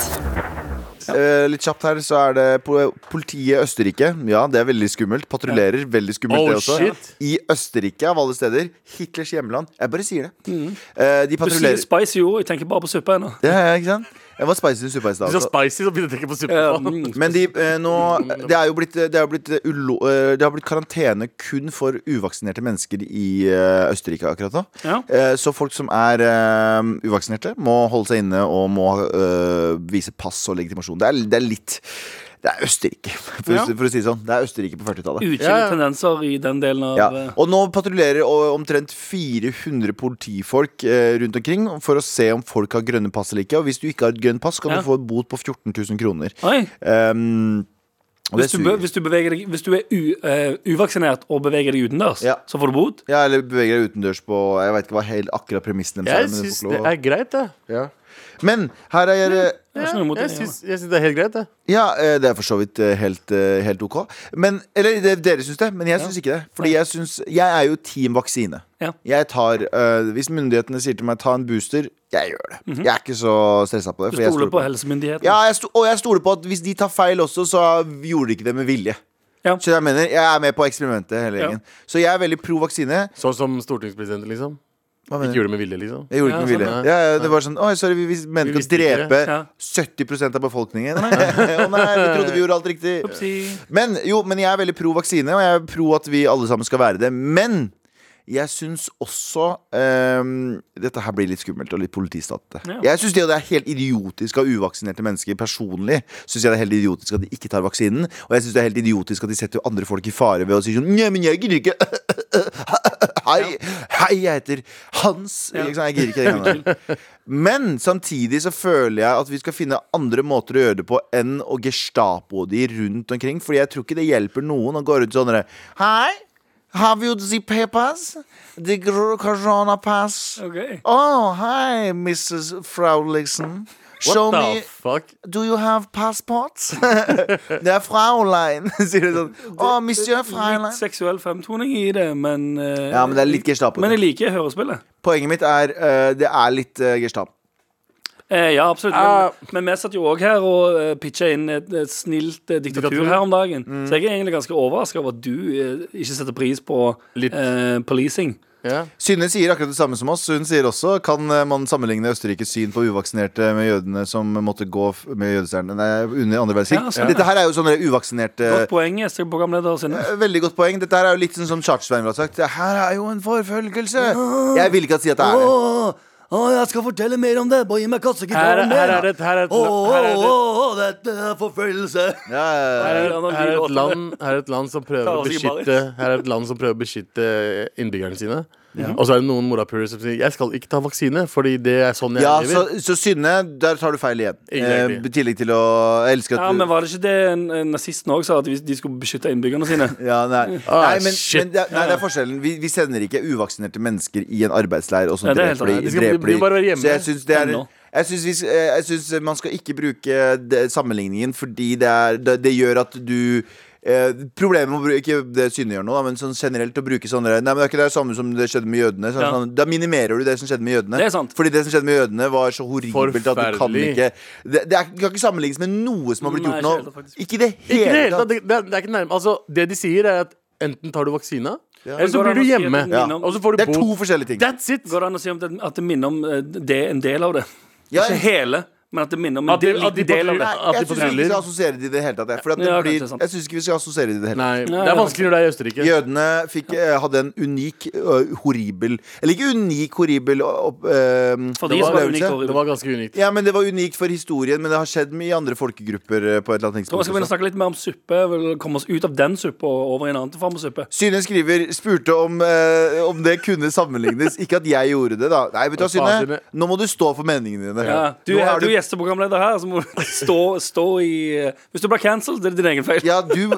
Speaker 1: Eh, litt kjapt her, så er det po- politiet i Østerrike. Ja, det er veldig skummelt. Patruljerer. Veldig skummelt,
Speaker 3: Oh,
Speaker 1: det også.
Speaker 3: shit.
Speaker 1: I Østerrike, av alle steder. Hitlers hjemland. Jeg bare sier det. Eh, de
Speaker 2: Du sier
Speaker 1: patruljerer
Speaker 2: spicy ord, jeg tenker bare på suppe ennå.
Speaker 1: Ja, ja, ikke sant? Jeg var spicy i suppa i
Speaker 3: Hvis
Speaker 1: stad.
Speaker 3: det er
Speaker 1: også.
Speaker 3: spicy, så begynner jeg å tenke på suppe.
Speaker 2: Ja,
Speaker 3: faen.
Speaker 2: mm.
Speaker 1: Men de, eh, nå, det er jo blitt, det er jo blitt, eh, ulo, eh, det har blitt karantene kun for uvaksinerte mennesker i eh, Østerrike akkurat nå.
Speaker 2: Ja.
Speaker 1: Eh, Så folk som er eh, uvaksinerte, må holde seg inne og må eh, vise pass og legitimasjon. Det er, det er litt Det er Østerrike, for,
Speaker 2: Ja.
Speaker 1: å, si- for å si det sånn. Det er Østerrike på 40-tallet.
Speaker 2: Ukjente
Speaker 3: Ja, ja.
Speaker 2: tendenser i den delen av
Speaker 1: Ja.
Speaker 2: eh,
Speaker 1: Og nå patruljerer o- omtrent 400 politifolk eh, rundt omkring for å se om folk har grønne pass eller ikke. Og hvis du ikke har et grønt pass, kan
Speaker 2: Ja.
Speaker 1: du få en bot på 14 000 kroner.
Speaker 2: Oi,
Speaker 1: Um, og
Speaker 2: hvis
Speaker 1: det
Speaker 2: du, be-
Speaker 1: suger.
Speaker 2: hvis, du beveger deg, hvis du er u, eh, uvaksinert og beveger deg utendørs,
Speaker 1: Ja.
Speaker 2: så får du bot?
Speaker 1: Ja, eller beveger deg utendørs på Jeg vet ikke hva helt akkurat premissen deres
Speaker 3: Jeg
Speaker 1: er. Men, du
Speaker 3: syns
Speaker 1: får
Speaker 3: det
Speaker 1: ikke lov å-
Speaker 3: er greit, det.
Speaker 1: men her er eh,
Speaker 2: Jeg har ikke noe imot
Speaker 3: jeg
Speaker 2: det,
Speaker 3: syns jeg syns det er helt greit, det.
Speaker 1: Ja, eh, det er for så vidt eh, helt, eh, helt OK. Men, eller det, dere syns det, men jeg syns ikke det. Fordi jeg syns Jeg er jo team vaksine.
Speaker 2: Ja.
Speaker 1: Jeg tar eh, Hvis myndighetene sier til meg ta en booster, jeg gjør det. Jeg er ikke så stressa på det.
Speaker 2: Mhm. Du
Speaker 1: for jeg
Speaker 2: stoler på
Speaker 1: det.
Speaker 2: helsemyndighetene?
Speaker 1: Ja, jeg sto, og jeg stoler på at hvis de tar feil også, så gjorde de ikke det med vilje.
Speaker 2: Ja.
Speaker 1: Så jeg mener, jeg er med på eksperimentet hele
Speaker 2: Ja.
Speaker 1: gjengen. Så jeg er veldig pro vaksine.
Speaker 3: Sånn som stortingspresidenten, liksom.
Speaker 1: Hva
Speaker 3: Ikke
Speaker 1: mener du?
Speaker 3: gjorde det med vilje, liksom.
Speaker 1: Jeg gjorde
Speaker 2: Ja,
Speaker 1: ikke med vilje.
Speaker 3: sånn,
Speaker 1: Ja, ja, det var sånn Oi, sorry, vi, vi mente
Speaker 3: Vi
Speaker 1: å
Speaker 3: visste ikke.
Speaker 1: drepe
Speaker 2: Ja.
Speaker 1: 70 av befolkningen. Å nei, vi trodde vi gjorde alt riktig.
Speaker 2: Upsi.
Speaker 1: Men jo, men jeg er veldig pro vaksine, og jeg er pro at vi alle sammen skal være det. Men jeg syns også ehm, Dette her blir litt skummelt og litt politistat. dette.
Speaker 2: Ja.
Speaker 1: Jeg syns det, det er helt idiotisk av uvaksinerte mennesker personlig. Synes jeg det er helt idiotisk at de ikke tar vaksinen Og jeg syns det er helt idiotisk at de setter andre folk i fare ved å si sånn Nei, men jeg gidder ikke. Hei, hei, jeg heter Hans. Ikke sant? Jeg gidder ikke det engang. Men samtidig så føler jeg at vi skal finne andre måter å gjøre det på enn å gestapo de rundt omkring. Fordi jeg tror ikke det hjelper noen å gå rundt sånn der, Hei, have you the papers? The gr- corona pass?
Speaker 2: Ok.
Speaker 1: Oh, hi, Mrs. Frauligsen. Show
Speaker 3: What the
Speaker 1: me
Speaker 3: fuck?
Speaker 1: Do you have passports? det er Fraulein, sier du sånn. Oh, monsieur Fraulein.
Speaker 2: Litt seksuell fremtoning i det, men eh,
Speaker 1: Ja, men det er litt Gestapo.
Speaker 2: Men jeg liker hørespillet.
Speaker 1: Poenget mitt er eh, det er litt eh, gestapo.
Speaker 2: Eh, ja, absolutt.
Speaker 3: Ah.
Speaker 2: Men, men vi satt jo òg her og uh, pitcha inn et, et snilt eh, diktatur,
Speaker 3: Diktatur. Mm.
Speaker 2: her om dagen. Så jeg er egentlig ganske overraska over at du eh, ikke setter pris på
Speaker 3: Litt.
Speaker 2: eh, policing.
Speaker 3: Ja.
Speaker 1: Synne sier akkurat det samme som oss. Hun sier også kan eh, man sammenligne Østerrikes syn på uvaksinerte med jødene som måtte gå f- med jødestjernene Nei, under andre verdenskrig.
Speaker 2: Ja,
Speaker 5: altså-
Speaker 2: sånn.
Speaker 1: Dette her er jo sånne
Speaker 3: Eh.
Speaker 1: uvaksinerte Eh,
Speaker 2: Godt poeng, gjesteprogramleder Synne.
Speaker 1: Veldig godt poeng. Dette her er jo litt sånn som Chartersveien ville ha sagt. Det her er jo en forfølgelse. Jeg vil ikke at si at det er det.
Speaker 5: jeg skal fortelle mer om det. Bare gi meg
Speaker 3: Her,
Speaker 5: kassegitaren
Speaker 3: er- her er det her er et, her er det
Speaker 5: dette er forfølgelse.
Speaker 1: Ja, ja, ja.
Speaker 3: her er, et- her er et land, her er et land som prøver
Speaker 2: Ta
Speaker 3: å
Speaker 2: oss i
Speaker 3: beskytte Her er et land som prøver å beskytte innbyggerne sine. Og så er det noen morapulere som sier jeg skal ikke ta vaksine, fordi det er sånn jeg
Speaker 1: Ja,
Speaker 3: lever.
Speaker 1: så, så Synne, der tar du feil igjen. Eh,
Speaker 3: Egentlig.
Speaker 1: I tillegg til å Jeg elsker
Speaker 2: Ja,
Speaker 1: at du
Speaker 2: men Var det ikke det en- en nazisten òg sa, at hvis de skulle beskytte innbyggerne sine?
Speaker 1: Ja, nei.
Speaker 3: Ah,
Speaker 1: nei, men,
Speaker 3: shit.
Speaker 1: men det, er- nei, det er forskjellen. Vi, vi sender ikke uvaksinerte mennesker i en arbeidsleir og så
Speaker 2: Ja, det er helt
Speaker 1: dreper de.
Speaker 2: annet. De
Speaker 3: skal-
Speaker 1: dreper
Speaker 3: de blir bare være hjemme
Speaker 1: Så jeg syns det er
Speaker 2: ennå.
Speaker 1: jeg syns, vi, s- eh, jeg syns man skal ikke bruke det, sammenligningen, fordi det, er, det, det gjør at du eh, Problemet med å bruke Ikke det Synne gjør nå, da, men sånn generelt å bruke sånne Nei, men det er ikke det samme som det skjedde med jødene. Sånn,
Speaker 2: Ja.
Speaker 1: sånn, da minimerer du det som skjedde med jødene.
Speaker 2: Det er sant.
Speaker 1: Fordi det som skjedde med jødene, var så horribelt at du kan
Speaker 3: Forferdelig.
Speaker 1: ikke Det, det er, kan ikke sammenlignes med noe som har blitt gjort
Speaker 2: Nei, ikke helt,
Speaker 1: nå.
Speaker 2: faktisk.
Speaker 1: Ikke i det
Speaker 3: Ikke i det hele
Speaker 1: hele
Speaker 3: tatt. Det, det, er- det er ikke nærme. Altså, det de sier, er at enten tar du vaksina, eller så
Speaker 2: Går det an
Speaker 3: blir du
Speaker 2: å si at
Speaker 3: hjemme.
Speaker 2: den minner om-
Speaker 3: Og så får du
Speaker 1: Det er to
Speaker 3: bot.
Speaker 1: forskjellige ting.
Speaker 3: That's it!
Speaker 2: Går det an å si om det, at det minner om eh, det er en del av det?
Speaker 1: Ja,
Speaker 2: ikke hele, men at det minner om en
Speaker 3: At de-
Speaker 2: del,
Speaker 3: at de
Speaker 2: liten del av det.
Speaker 1: Nei,
Speaker 3: patruljerer- at
Speaker 1: jeg
Speaker 3: de
Speaker 1: syns ikke vi
Speaker 3: fortryller.
Speaker 1: skal assosiere det i det hele tatt. jeg. For at det
Speaker 2: Ja,
Speaker 1: blir,
Speaker 2: kanskje sant.
Speaker 1: jeg syns ikke vi skal assosiere det i det hele tatt.
Speaker 3: Nei,
Speaker 2: Nei,
Speaker 3: det er vanskeligere når det er i Østerrike.
Speaker 1: Jødene fikk, eh, hadde en unik, ø, horribel Eller ikke unik, horribel opp, eh,
Speaker 2: For de som
Speaker 1: opplevelse.
Speaker 2: var unikt
Speaker 3: Det
Speaker 2: horrible.
Speaker 3: var ganske unikt.
Speaker 1: Ja, men Det var unikt for historien, men det har skjedd med i andre folkegrupper. eh, på et eller annet
Speaker 2: Så vi skal
Speaker 1: tidspunkt
Speaker 2: begynne å snakke litt mer om suppe. Vel, komme oss ut av den suppa og over i en annen form for suppe.
Speaker 1: Synne skriver spurte om, eh, om det kunne sammenlignes. Ikke at jeg gjorde det, da. Nei, vet du hva,
Speaker 3: faen,
Speaker 1: Synne?
Speaker 3: Synne.
Speaker 1: Nå må du stå for meningene dine.
Speaker 2: Ja, du,
Speaker 1: Nå
Speaker 2: er,
Speaker 1: har
Speaker 2: du er gjesteprogramleder her, så må du stå, stå i eh, Hvis du blir cancelled, er det din egen feil.
Speaker 1: Ja, du,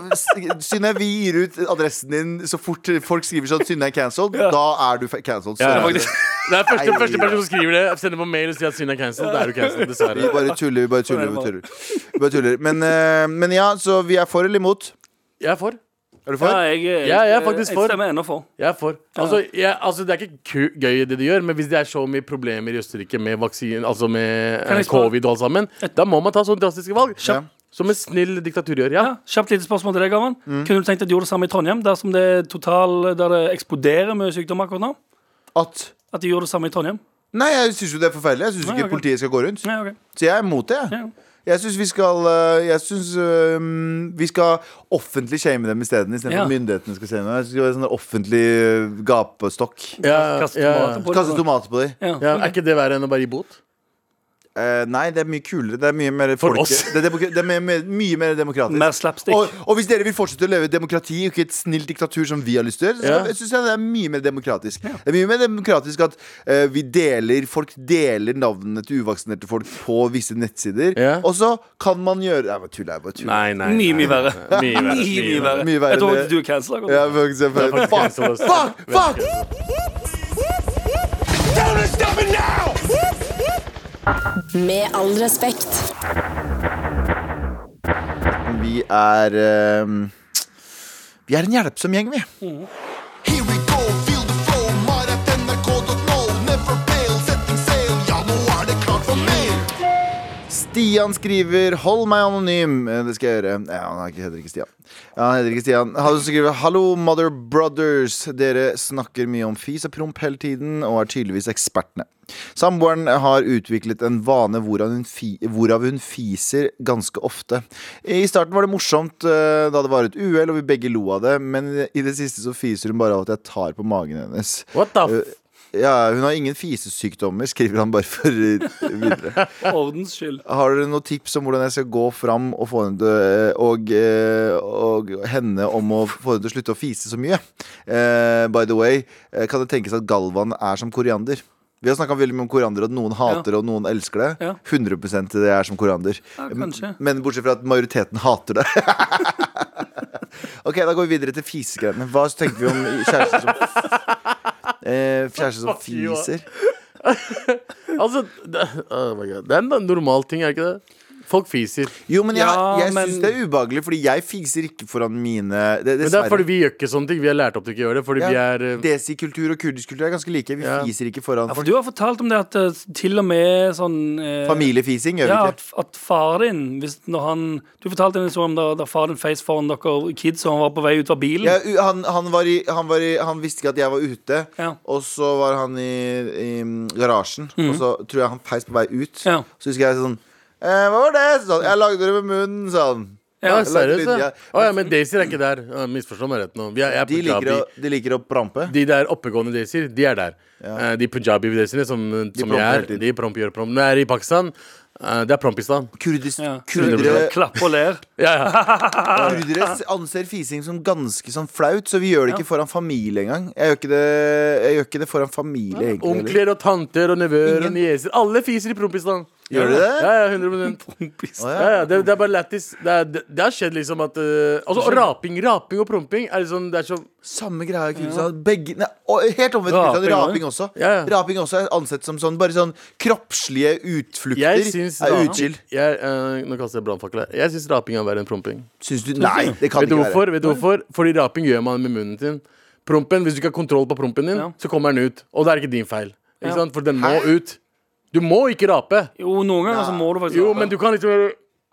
Speaker 1: Synne, vi gir ut adressen din så fort folk skriver sånn 'Synne er cancelled'. Da er du fe- cancelled.
Speaker 3: Ja,
Speaker 1: Synne.
Speaker 3: ja.
Speaker 2: Faktisk.
Speaker 3: Det er første,
Speaker 1: Nei.
Speaker 3: første person som skriver det, sender på mail og sier at synd er cancelled. Da er du cancelled,
Speaker 1: Vi
Speaker 3: dessverre.
Speaker 1: bare tuller, vi bare tuller. Vi bare tuller. Vi bare tuller. Men, eh, men ja, så vi er for eller imot?
Speaker 3: Jeg er for.
Speaker 1: Er du for?
Speaker 2: Ja, jeg, jeg,
Speaker 3: Ja, jeg er faktisk for.
Speaker 2: Jeg stemmer ennå for.
Speaker 3: Jeg er for. Altså, jeg, altså, det er ikke ku- gøy det de gjør, men hvis det er så mye problemer i Østerrike med vaksin, altså med
Speaker 2: Kan
Speaker 3: eh,
Speaker 2: jeg spørre-
Speaker 3: covid og alt sammen, da må man ta sånne drastiske valg.
Speaker 1: Ja.
Speaker 3: Som en snill diktatur gjør. Ja.
Speaker 2: Ja, kjapt lite spørsmål til deg, Gavan. Kunne du tenkt at du gjorde det samme i Trondheim, der, som det, er total, der det eksploderer med sykdom akkurat nå?
Speaker 1: At
Speaker 2: At de gjorde det samme i Trondheim?
Speaker 1: Nei, jeg syns jo det er forferdelig. Jeg syns
Speaker 2: Nei,
Speaker 1: ikke
Speaker 2: ok.
Speaker 1: politiet skal gå rundt.
Speaker 2: Ja, ok.
Speaker 1: Så jeg er imot det. jeg.
Speaker 2: Ja.
Speaker 1: Jeg syns vi skal øh, Jeg synes, øh, vi skal offentlig shame dem isteden. Istedenfor
Speaker 2: Ja.
Speaker 1: at myndighetene skal shame dem. Jeg synes det var en sånn offentlig øh, gapestokk.
Speaker 3: Ja,
Speaker 2: Kaste
Speaker 3: ja.
Speaker 2: tomater på det.
Speaker 1: Kaste tomater på dem.
Speaker 2: Ja.
Speaker 3: Ja, er ikke det verre enn å bare gi bot?
Speaker 1: Eh, nei, det er mye kulere. Det er mye mer
Speaker 3: For
Speaker 1: folke-
Speaker 3: oss.
Speaker 1: Det er, demok- det er mye, mer- mye mer demokratisk.
Speaker 2: Mer slapstick.
Speaker 1: Og, og hvis dere vil fortsette å leve i et demokrati og ikke et snilt diktatur som vi har lyst til å gjøre, så
Speaker 3: Ja.
Speaker 1: skal- synes jeg det er mye mer demokratisk. Det er mye mer demokratisk at eh, vi deler folk deler navnene til uvaksinerte folk på visse nettsider,
Speaker 3: Ja.
Speaker 1: og så kan man gjøre Nei, bare tull, jeg bare tull.
Speaker 3: Nei, nei.
Speaker 2: Mye, mye verre.
Speaker 3: Mye verre.
Speaker 2: Mye, mye verre.
Speaker 1: Mye verre
Speaker 2: Jeg tror
Speaker 1: enn det.
Speaker 2: faktisk du er cancella.
Speaker 1: Ja, faktisk, jeg føler-
Speaker 3: Fuck,
Speaker 1: Fuck! Fuck! Fuck!
Speaker 6: Med all respekt.
Speaker 1: Vi er eh, Vi er en hjelpsom gjeng, vi.
Speaker 7: Here we go, feel the flow, maratnrk.no. Never fail, setting sail. Ja, nå er det klart for mer.
Speaker 1: Stian skriver 'Hold meg anonym'. Eh, Det skal jeg gjøre. Nei, han er ikke- heter ikke Stian. Ja, han heter ikke Stian. Han skriver 'Hallo, mother brothers'. Dere snakker mye om fis og promp hele tiden, og er tydeligvis ekspertene. Samboeren har utviklet en vane hvorav hun, fi, hvorav hun fiser ganske ofte. I starten var det morsomt eh, da det var et uhell, og vi begge lo av det, men i det siste så fiser hun bare av at jeg tar på magen hennes.
Speaker 3: What the
Speaker 1: Eh,
Speaker 3: f...
Speaker 1: Ja, hun har ingen fisesykdommer, skriver han bare for eh, videre.
Speaker 2: For ordens skyld.
Speaker 1: Har dere noen tips om hvordan jeg skal gå fram og få henne til, og, eh, og henne om å få henne til å slutte å fise så mye? Eh, by the way, eh, kan det tenkes at Galvan er som koriander? Vi har snakka veldig mye om koriander, at noen hater det, og noen elsker det.
Speaker 2: Ja.
Speaker 1: 100 det er som koriander.
Speaker 2: Ja, kanskje.
Speaker 1: Men bortsett fra at majoriteten hater det. ok, da går vi videre til fisegreiene. Hva tenker vi om kjærester som eh, Kjærester som
Speaker 3: Fuck you, ass.
Speaker 1: fiser?
Speaker 3: Altså, det, oh my God. det er en normal ting, er det ikke det? Folk fiser.
Speaker 1: Jo, men jeg,
Speaker 2: Ja,
Speaker 1: jeg
Speaker 2: men-
Speaker 1: syns det er ubehagelig, fordi jeg fiser ikke foran mine det,
Speaker 3: Men det er fordi vi gjør ikke sånne ting. Vi har lært opp til ikke å gjøre det. Fordi vi
Speaker 1: Ja,
Speaker 3: er eh,
Speaker 1: Desi-kultur og kurdisk kultur er ganske like. Vi
Speaker 3: Ja.
Speaker 1: fiser ikke foran
Speaker 2: Ja, for
Speaker 1: folk.
Speaker 2: du har fortalt om det at eh, til og med sånn eh,
Speaker 1: Familiefising gjør
Speaker 2: Ja,
Speaker 1: vi
Speaker 2: at,
Speaker 1: ikke.
Speaker 2: at far din hvis når han, Du fortalte en historie om da, da far din feis foran dere kids, og han var på vei ut av bilen.
Speaker 1: Ja, u- han, han, var i, han, var i, han visste ikke at jeg var ute,
Speaker 2: Ja.
Speaker 1: og så var han i, i mm, garasjen. Og så tror jeg han peis på vei ut.
Speaker 2: Ja.
Speaker 1: Så husker jeg sånn eh, Hva var det? Så sa han, jeg lagde det med munnen, sa han.
Speaker 3: Ja,
Speaker 2: Ja,
Speaker 3: seriøst,
Speaker 1: lagde
Speaker 3: ja.
Speaker 1: linja.
Speaker 3: Å ja, men Daisyer er ikke der. Ja, Misforstå meg rett nå. Vi er, jeg er
Speaker 1: De liker,
Speaker 3: punjabi.
Speaker 1: å, de liker å prampe.
Speaker 3: De der oppegående daisyer, de er der. Eh, De punjabi daisyer som, eh, som jeg
Speaker 1: promper
Speaker 3: er,
Speaker 1: hele tiden.
Speaker 3: de promp gjør promp. Når jeg er i Pakistan, eh, det er prompistan.
Speaker 1: Kurdis,
Speaker 2: Ja.
Speaker 1: Kurdere
Speaker 2: Klappe og ler.
Speaker 3: Ja, ja.
Speaker 1: Kurdere s- anser fising som ganske sånn flaut, så vi gjør det ikke foran familie engang. Jeg gjør ikke det, jeg gjør ikke det foran familie, egentlig. heller.
Speaker 3: Onkler og tanter og nevøer og
Speaker 1: Ingen.
Speaker 3: nieser. Alle fiser i prompistan.
Speaker 1: Gjør de det?
Speaker 3: Ja, ja, 100
Speaker 2: Kompis.
Speaker 1: Å,
Speaker 3: ja, ja, det, det er bare lættis. Det, er- det, det har skjedd liksom at eh, Altså, og raping, raping og promping er liksom Det er så
Speaker 1: Samme greia i Kurdistan. Begge, nei, og helt omvendt
Speaker 2: Raping
Speaker 1: Kurdistan.
Speaker 2: også.
Speaker 1: Raping også.
Speaker 3: Ja, ja.
Speaker 1: Raping også er ansett som sånn bare sånn kroppslige utflukter.
Speaker 3: Jeg syns
Speaker 1: er
Speaker 3: raping-
Speaker 1: utskill.
Speaker 3: jeg, eh, Nå kaster jeg brannfakkel her. Jeg syns raping er verre enn promping.
Speaker 1: Syns du Nei, det kan
Speaker 3: Vet du
Speaker 1: ikke
Speaker 3: hvorfor?
Speaker 1: være.
Speaker 3: Vet du hvorfor? Fordi raping gjør man med munnen sin. Prompen, Hvis du ikke har kontroll på prompen din,
Speaker 2: Ja.
Speaker 3: så kommer den ut. Og det er ikke din feil. Ikke
Speaker 2: Ja.
Speaker 3: sant? For den må ut. Du må ikke rape.
Speaker 2: Jo, noen ganger så må du faktisk
Speaker 3: Jo,
Speaker 2: rape.
Speaker 3: men du kan liksom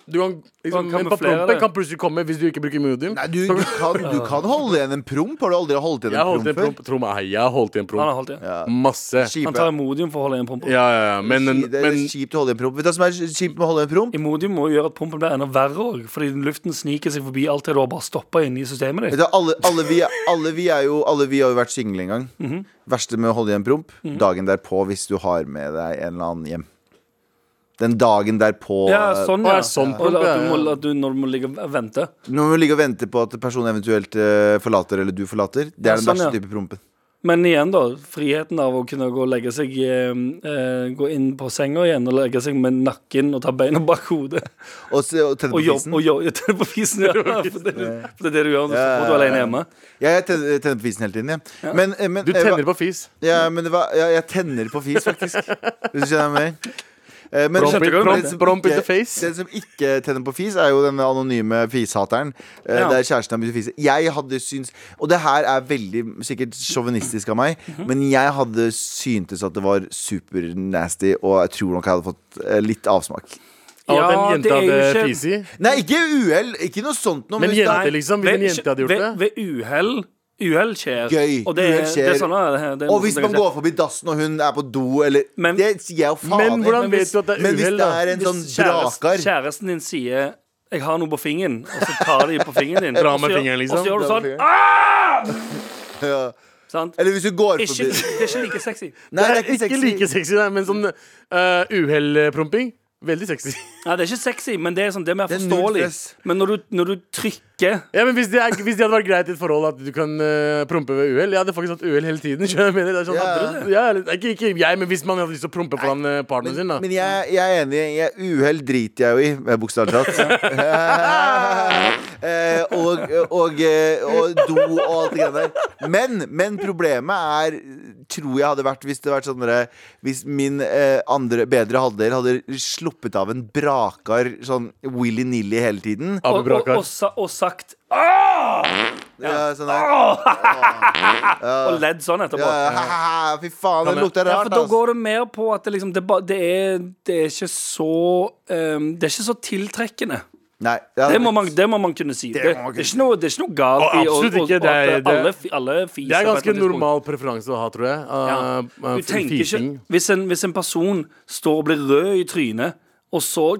Speaker 3: du kan, liksom,
Speaker 2: Kan
Speaker 3: men på
Speaker 2: kamuflere
Speaker 3: prompen
Speaker 2: det.
Speaker 3: kan plutselig komme hvis du ikke bruker mudium.
Speaker 1: Nei, du, du, kan, du kan holde igjen en promp. Har du altså. aldri holdt igjen
Speaker 3: Jeg
Speaker 1: en
Speaker 3: holdt
Speaker 1: promp
Speaker 3: en
Speaker 1: før?
Speaker 3: promp. Tro meg, jeg har holdt i en
Speaker 2: Han har
Speaker 3: promp.
Speaker 2: holdt igjen.
Speaker 1: Ja.
Speaker 3: Masse.
Speaker 1: Kjipe.
Speaker 2: Han tar Imodium for å holde igjen pumpen.
Speaker 3: Ja, ja, ja. Men, men,
Speaker 1: det er kjipt å holde en promp. Vet du hva som er kjipt med å holde en promp?
Speaker 2: Imodium må jo gjøre at pumpen blir enda verre òg, fordi luften sniker seg forbi alt det du har bare stoppa inni systemet
Speaker 1: Vet
Speaker 2: ditt.
Speaker 1: du, alle, alle, vi, alle vi er jo Alle vi har jo vært single en gang.
Speaker 2: Mhm.
Speaker 1: Verste med å holde igjen promp, dagen derpå hvis du har med deg en eller annen hjem. Den dagen derpå
Speaker 2: Ja, sånn,
Speaker 3: Å,
Speaker 2: ja.
Speaker 3: ja, sånn
Speaker 2: Og
Speaker 3: pump,
Speaker 2: at du
Speaker 3: ja,
Speaker 2: må,
Speaker 3: ja.
Speaker 2: at du, når du må ligge og vente.
Speaker 1: Når man ligger og venter på at personen eventuelt eh, forlater, eller du forlater, det er
Speaker 2: Ja,
Speaker 1: den
Speaker 2: sånn,
Speaker 1: verste
Speaker 2: ja.
Speaker 1: type prompen.
Speaker 2: Men igjen, da. Friheten av å kunne gå og legge seg eh, eh, Gå inn på senga igjen og legge seg med nakken og ta beina bak hodet.
Speaker 1: Og, se- og tenne
Speaker 2: Og
Speaker 1: på
Speaker 2: jobb,
Speaker 1: fisen.
Speaker 2: og jobb, ja, tenne på fisen, ja. For det, er det- for det er det du gjør når du
Speaker 1: Ja,
Speaker 2: når du er
Speaker 1: ja,
Speaker 2: alene
Speaker 1: ja.
Speaker 2: hjemme.
Speaker 1: Ja, jeg tenner, tenner på fisen hele tiden, jeg. Ja. Men, eh, men,
Speaker 3: Du
Speaker 1: eh,
Speaker 3: tenner
Speaker 1: hva-
Speaker 3: på fis.
Speaker 1: ja, men det var, ja, jeg tenner på fis, faktisk. Hvis du skjønner meg. Eh, Men
Speaker 3: Promp in-
Speaker 1: den som
Speaker 3: promp-
Speaker 1: ikke-
Speaker 3: promp in the face.
Speaker 1: Den som ikke tenner på fis, er jo den anonyme fishateren. eh,
Speaker 2: Ja.
Speaker 1: Der kjæresten har begynt å fise. Jeg hadde syns Og det her er veldig sikkert sjåvinistisk av meg,
Speaker 3: Mhm.
Speaker 1: men jeg hadde syntes at det var supernasty, og jeg tror nok jeg hadde fått eh, litt avsmak.
Speaker 3: Av at en
Speaker 2: det
Speaker 3: jente
Speaker 2: er jo
Speaker 3: hadde
Speaker 2: ikke-
Speaker 3: fis i.
Speaker 1: Nei, ikke uhell. Ikke noe sånt noe.
Speaker 3: Men
Speaker 1: hvis det er-
Speaker 3: jente, liksom. Hvis en
Speaker 2: Ved-
Speaker 3: jente hadde gjort det
Speaker 2: Ved, ved uhell Uhell skjer.
Speaker 1: Gøy.
Speaker 2: Og det, er-
Speaker 1: Uhell skjer.
Speaker 2: det er sånn det er. Det er
Speaker 1: og hvis
Speaker 2: sånn
Speaker 1: man
Speaker 2: det
Speaker 1: går forbi dassen og hun er på do, eller
Speaker 2: Men-
Speaker 1: Det sier jeg jo faen
Speaker 3: Men hvordan
Speaker 2: men
Speaker 3: vet
Speaker 2: hvis-
Speaker 3: du at det er
Speaker 1: Men hvis
Speaker 3: uhell,
Speaker 1: det
Speaker 3: da?
Speaker 1: er en
Speaker 2: Hvis
Speaker 1: sånn
Speaker 2: kjærest-
Speaker 1: brakar
Speaker 2: Kjæresten din sier 'jeg har noe på fingeren', og så tar de på fingeren din.
Speaker 3: Dra
Speaker 2: og så
Speaker 3: med
Speaker 2: gjør-
Speaker 3: fingeren, liksom.
Speaker 2: Og så gjør du
Speaker 1: Dra
Speaker 2: sånn.
Speaker 1: med Ja.
Speaker 2: «Ah!» Sant?
Speaker 1: Eller hvis du går
Speaker 2: Ikke,
Speaker 1: forbi
Speaker 2: det er ikke like sexy.
Speaker 1: Nei,
Speaker 3: Det er ikke like sexy, nei, men sånn uh, uhellpromping. Veldig sexy.
Speaker 2: Nei, det er ikke sexy, men det er, sånn, det er mer
Speaker 1: Det er null
Speaker 2: forståelig.
Speaker 1: stress.
Speaker 2: Men når du, når du trykker
Speaker 3: Ja, men hvis det, er, hvis det hadde vært greit i et forhold at du kan eh, prompe ved uhell Jeg hadde faktisk hatt uhell hele tiden. skjønner du hva jeg mener? Det er sånn,
Speaker 1: Ja.
Speaker 3: hadde du det? Ja, eller- ikke, ikke jeg, men hvis man hadde lyst til å prompe foran eh, partneren sin, da.
Speaker 1: Men jeg, jeg er enig. Jeg, uhell driter jeg jo i, eh, bokstavelig talt. Eh, og, og, eh, og do og alt det greiene der. Men, men problemet er, tror jeg hadde vært hvis det hadde vært sånn derre- Hvis min eh, andre, bedre halvdel hadde sluppet av en brakar sånn willy-nilly hele tiden.
Speaker 3: Abu
Speaker 2: og, og,
Speaker 3: Brakar.
Speaker 2: og, sa- og sagt
Speaker 1: Ja, sånn
Speaker 2: Ah!
Speaker 1: der.
Speaker 2: og ledd sånn etterpå.
Speaker 1: Ja, ja, ha-ha-ha, fy faen, det lukter
Speaker 2: Ja, for
Speaker 1: rart,
Speaker 2: da
Speaker 1: ass.
Speaker 2: går det mer på at det liksom Det, ba- det, er, det er ikke så um, Det er ikke så tiltrekkende.
Speaker 1: Nei, ja,
Speaker 2: Det må man, det må man kunne si. Det, det,
Speaker 1: må man kunne
Speaker 2: er ikke noe, det er ikke noe galt
Speaker 3: Å, absolutt
Speaker 2: i å- å-
Speaker 3: ikke. Det
Speaker 2: at
Speaker 3: er- det er-
Speaker 2: alle, fi- alle fiser. på et
Speaker 3: Det er ganske
Speaker 2: eller annet tidspunkt.
Speaker 3: normal preferanse å ha, tror jeg.
Speaker 2: Ja.
Speaker 3: Uh, uh,
Speaker 2: Du tenker ikke
Speaker 3: fising.
Speaker 2: hvis en, hvis en person står og blir rød i trynet, og så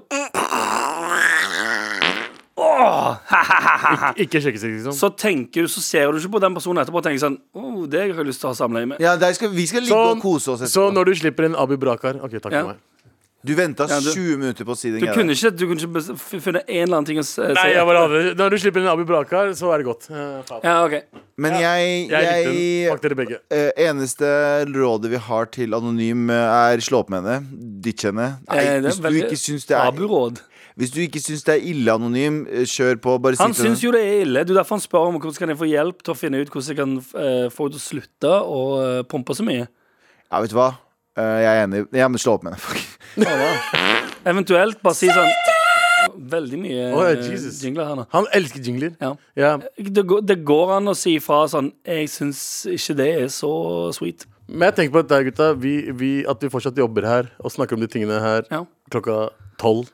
Speaker 3: Ikke sjekkesexy, liksom.
Speaker 2: Så tenker du, så ser du ikke på den personen etterpå og tenker sånn oh, det har jeg lyst til å ha samleie med.
Speaker 1: Ja, der skal, vi skal ligge
Speaker 2: Sånn-
Speaker 1: og kose oss
Speaker 3: Så, så
Speaker 1: etterpå.
Speaker 3: når du slipper en Abu Brakar OK, takk
Speaker 2: Ja.
Speaker 3: for meg.
Speaker 1: Du venta
Speaker 2: Ja, du-
Speaker 1: 20 minutter på å si den
Speaker 2: Du
Speaker 1: greia
Speaker 2: kunne
Speaker 1: der.
Speaker 2: ikke, du kunne ikke bes- f- funnet en eller annen ting å s- si.
Speaker 3: Nei, jeg bare hadde, Når du slipper en Abu Brakar, så er det godt. Eh, faen.
Speaker 2: Ja, ok.
Speaker 1: Men jeg,
Speaker 3: jeg likte den.
Speaker 1: jeg
Speaker 3: Fuck dere begge.
Speaker 1: eh, Eneste rådet vi har til Anonym, eh, er slå opp med henne. Ditch henne. Nei,
Speaker 2: Eh, det er
Speaker 1: hvis, du
Speaker 2: veldig
Speaker 1: ikke syns det er,
Speaker 2: Taburåd.
Speaker 1: hvis du ikke syns det er ille anonym, eh, kjør på. Bare
Speaker 2: Han
Speaker 1: sitt med
Speaker 2: syns
Speaker 1: den.
Speaker 2: jo det er ille. Det er derfor han spør om hvordan kan jeg få hjelp til å finne ut hvordan jeg kan eh, få henne til å slutte å eh, pumpe så mye.
Speaker 1: Ja, vet du hva? Eh, jeg er enig. Jeg må slå opp med henne. Fuck.
Speaker 2: Eventuelt bare si sånn Veldig mye
Speaker 3: Å, ja,
Speaker 2: eh,
Speaker 3: Jesus.
Speaker 2: jingler her nå.
Speaker 3: Han elsker jingler.
Speaker 2: Ja.
Speaker 3: Ja.
Speaker 2: Det går, det går an å si fra sånn Jeg syns ikke det er så sweet.
Speaker 3: Men jeg tenker på dette, gutta. Vi, vi, at vi fortsatt jobber her og snakker om de tingene her
Speaker 2: Ja. Mm.
Speaker 3: klokka tolv.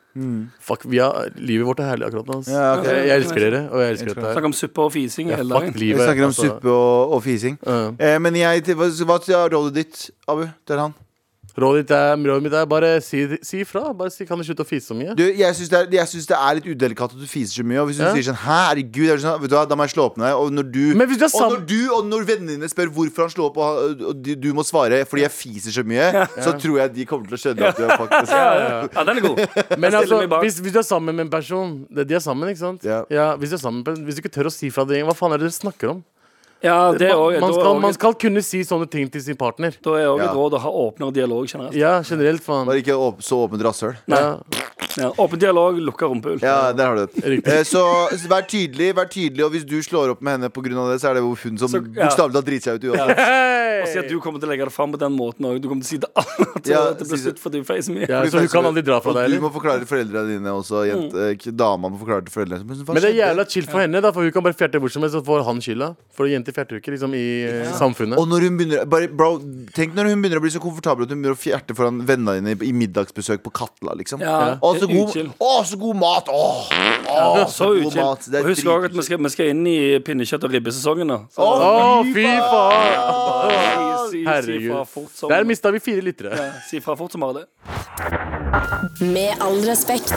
Speaker 3: Fuck, vi har, Livet vårt er herlig akkurat nå. ass.
Speaker 1: Ja, ok.
Speaker 3: jeg, jeg elsker dere, og jeg elsker dette her.
Speaker 2: Snakke om suppe og fising
Speaker 3: Ja,
Speaker 2: hele
Speaker 3: fuck
Speaker 2: dagen.
Speaker 1: Vi
Speaker 3: livet.
Speaker 1: snakker om
Speaker 3: altså.
Speaker 1: suppe og, og fising.
Speaker 3: Ja.
Speaker 1: Eh, men jeg, hva hva er rådet ditt, Abu? Til han?
Speaker 3: Rådet ditt er, rådet mitt er bare si, si ifra. Bare si, kan du slutte å fise så mye?
Speaker 1: Du, jeg syns det, er- jeg synes det er litt udelikat at du fiser så mye. Og hvis hun
Speaker 3: Ja.
Speaker 1: sier sånn Herregud, jeg blir sånn, vet du hva, da må jeg slå opp med deg. Og når du,
Speaker 3: Men hvis du er
Speaker 1: og når,
Speaker 3: sam-
Speaker 1: du og når vennene dine spør hvorfor han slo opp, og, og du, du må svare fordi jeg fiser så mye, så tror jeg de kommer til å skjønne at du er faktisk
Speaker 2: Ja, den er god.
Speaker 3: Men
Speaker 2: Jeg stiller
Speaker 3: altså,
Speaker 2: meg bak.
Speaker 3: hvis, hvis du er sammen med en person det, De er sammen, ikke sant?
Speaker 1: Ja.
Speaker 3: hvis, du er sammen, med en person- hvis du ikke tør å si fra det, hva faen er det dere snakker om?
Speaker 2: Ja, det er også,
Speaker 3: man,
Speaker 2: da er
Speaker 3: skal,
Speaker 2: også-
Speaker 3: man skal kunne si sånne ting til sin partner.
Speaker 2: Da er òg
Speaker 1: Ja.
Speaker 2: et råd å ha åpnere dialog generelt.
Speaker 3: Ja, generelt, faen.
Speaker 1: Bare ikke åp så åpent rasshøl.
Speaker 3: Ja.
Speaker 2: Ja, åpen dialog, lukka rumpehull.
Speaker 1: Ja, der har du det.
Speaker 3: Riktig.
Speaker 1: Eh, Så, så vær tydelig, vær tydelig, og hvis du slår opp med henne pga. det, så er det jo hun som
Speaker 2: Så- ja.
Speaker 1: bokstavelig talt driter seg ut uansett.
Speaker 2: Og si at du kommer til å legge det fram på den måten òg. Du kommer til å si det at
Speaker 1: Ja,
Speaker 2: det blir
Speaker 1: si det.
Speaker 2: slutt for du feiser mye.
Speaker 3: Ja, så hun kan aldri dra fra
Speaker 1: Og
Speaker 3: deg,
Speaker 1: Du
Speaker 3: eller? Mm.
Speaker 1: må forklare foreldrene dine også. Jent, eh, dama må forklare til foreldrene. Men, hva
Speaker 3: Men det er
Speaker 1: skjedde?
Speaker 3: jævla chill for henne, da, for hun kan bare fjerte hvor som helst, så får han skylda. For jenter fjerter jo ikke, liksom, i eh, samfunnet.
Speaker 1: Og når hun begynner bare, Bro, tenk når hun begynner å bli så komfortabel at hun begynner å fjerte foran vennene dine i- i middagsbesøk på Katla, liksom.
Speaker 2: Ja,
Speaker 1: Å, så
Speaker 2: det er
Speaker 1: god,
Speaker 2: utkild.
Speaker 1: å, så god mat! Å, å,
Speaker 2: Så utskilt.
Speaker 1: Det
Speaker 2: Og
Speaker 1: er
Speaker 2: Husk òg at vi
Speaker 1: dritchill.
Speaker 2: skal, vi skal inn i pinnekjøtt- og ribbesesongen. da. Så-
Speaker 1: Å,
Speaker 3: Å, fy faen!
Speaker 2: Si- si- Si fra
Speaker 3: Herregud.
Speaker 2: fort som
Speaker 3: Der mista vi fire lyttere.
Speaker 2: Ja, Si fra fort som bare det.
Speaker 6: Med all respekt.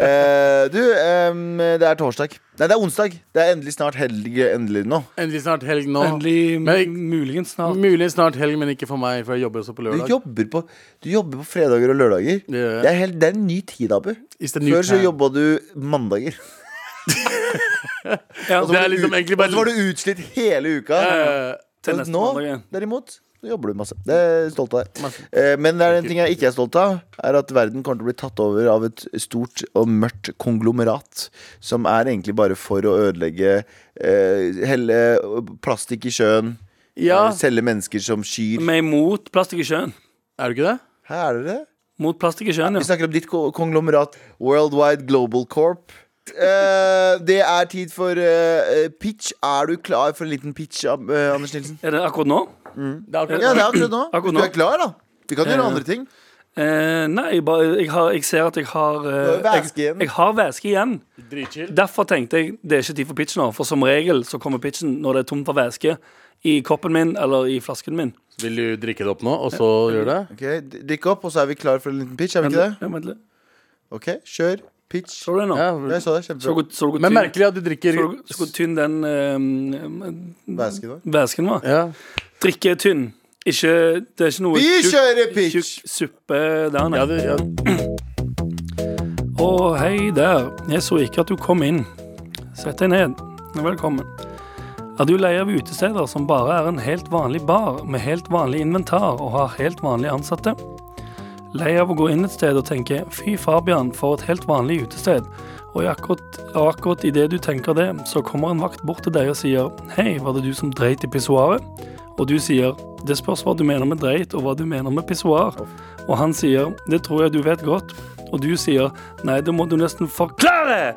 Speaker 1: Eh, du, em, det er torsdag. Nei, det er onsdag. Det er endelig snart helg. Endelig nå.
Speaker 3: Endelig snart helg nå.
Speaker 2: Endelig,
Speaker 3: Men-
Speaker 2: muligens snart.
Speaker 3: Muligens snart helg, men ikke for meg, for jeg jobber også på
Speaker 1: Du
Speaker 3: lørdag.
Speaker 1: jobber på, du jobber på fredager og lørdager.
Speaker 3: Det gjør jeg.
Speaker 1: Det er, helt, det er en ny tid, Abu.
Speaker 3: It's a new
Speaker 1: Før så
Speaker 3: time.
Speaker 1: jobba du mandager.
Speaker 2: Ja,
Speaker 1: Og så
Speaker 3: Det
Speaker 1: var
Speaker 3: er
Speaker 1: du
Speaker 3: liksom
Speaker 1: ut-
Speaker 3: egentlig bare-
Speaker 1: og så var du utslitt hele uka.
Speaker 3: Eh,
Speaker 2: til
Speaker 1: Men
Speaker 2: neste
Speaker 1: nå,
Speaker 2: mandag. ja.
Speaker 1: derimot, så jobber du masse. Det er jeg stolt av deg.
Speaker 3: Masse.
Speaker 1: Eh, Men det er en ting jeg ikke er stolt av, er at verden kommer til å bli tatt over av et stort og mørkt konglomerat, som er egentlig bare for å ødelegge eh, helle plastikk i sjøen,
Speaker 3: Ja.
Speaker 1: eh, selge mennesker som skyr.
Speaker 2: Vi er imot plastikk i sjøen.
Speaker 3: Er du ikke det?
Speaker 1: Her er dere.
Speaker 2: Mot plastikk i sjøen,
Speaker 1: Vi
Speaker 2: ja.
Speaker 1: snakker om ditt ko- konglomerat Worldwide Global Corp. Eh, det er tid for eh, pitch. Er du klar for en liten pitch, Ab- eh, Anders Nilsen?
Speaker 2: Er det akkurat nå?
Speaker 3: Det er
Speaker 1: Ja,
Speaker 3: akkurat
Speaker 1: det er akkurat nå. Hvis
Speaker 2: Akkurat
Speaker 1: du
Speaker 2: nå.
Speaker 1: er klar, da. Vi kan gjøre
Speaker 3: Eh,
Speaker 1: andre ting.
Speaker 2: Eh, nei, jeg, bare, jeg, har, jeg ser at jeg har eh,
Speaker 1: Du har væske
Speaker 2: jeg,
Speaker 1: igjen.
Speaker 2: jeg har væske igjen.
Speaker 3: dritchill.
Speaker 2: Derfor tenkte jeg det er ikke tid for pitch nå. For som regel så kommer pitchen når det er tomt for væske i koppen min eller i flasken min.
Speaker 3: Vil du drikke det opp nå, og så gjøre det?
Speaker 1: Ok, d- Drikk opp, og så er vi klar for en liten pitch. Er vi ikke det?
Speaker 2: Ja, vent litt.
Speaker 1: Ok, Kjør pitch.
Speaker 2: Så du det nå?
Speaker 3: Ja.
Speaker 1: Jeg så det,
Speaker 2: Så
Speaker 1: kjempebra.
Speaker 2: hvor- så hvor
Speaker 3: Men
Speaker 2: tynn-
Speaker 3: merkelig at du drikker
Speaker 2: så hvor- så hvor tynn den eh,
Speaker 1: Væske nå.
Speaker 2: væsken var.
Speaker 3: Ja.
Speaker 2: Drikke er tynn. Ikke, det er ikke noe
Speaker 1: Vi
Speaker 2: tjukk-
Speaker 1: kjører pitch!
Speaker 2: Tjukk suppe der, nei.
Speaker 3: Ja, det, ja.
Speaker 2: Å, hei der. Jeg så ikke at du kom inn. Sett deg ned. Velkommen. Er du lei av utesteder som bare er en helt vanlig bar med helt vanlig inventar og har helt vanlige ansatte? Lei av å gå inn et sted og tenke 'fy Fabian, for et helt vanlig utested', og i akkurat, og akkurat idet du tenker det, så kommer en vakt bort til deg og sier 'hei, var det du som dreit i pissoaret?' Og du sier 'det spørs hva du mener med dreit, og hva du mener med pissoar'. Og han sier 'det tror jeg du vet godt', og du sier 'nei, det må du nesten forklare'.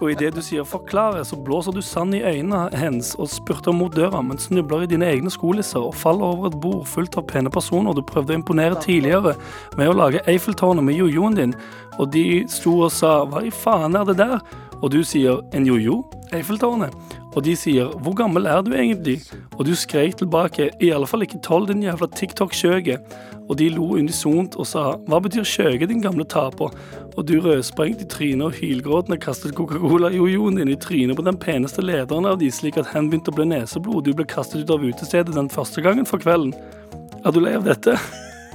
Speaker 2: Og idet du sier 'forklare', så blåser du sand i øynene hennes og spurter mot døra, men snubler i dine egne skolisser og faller over et bord fullt av pene personer du prøvde å imponere tidligere med å lage Eiffeltårnet med jojoen din, og de sto og sa 'hva i faen er det der'? Og du sier 'en jojo? Eiffeltårnet'? Og de sier 'hvor gammel er du egentlig?' Og du skrek tilbake 'i alle fall ikke tolv, din jævla TikTok-skjøge'. Og de lo unisont og sa 'hva betyr skjøge, din gamle taper'? Og du rødsprengt i trynet og hylgråtende kastet Coca-Cola-jojoen din i trynet på den peneste lederen av de, slik at han begynte å bli neseblod, og du ble kastet ut av utestedet den første gangen for kvelden. Er du lei av dette?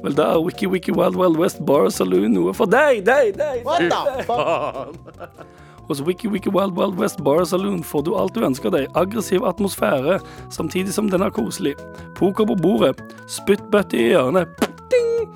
Speaker 2: Vel, da er Wiki Wiki Wild Wild West Bar og Saloon noe for deg, deg, deg!
Speaker 1: What the fuck?
Speaker 2: Hos Wiki Wiki Wild Wild West Bar og Saloon får du alt du ønsker deg. Aggressiv atmosfære, samtidig som den er koselig. Poker på bordet. Spyttbøtte i hjørnet. Ding!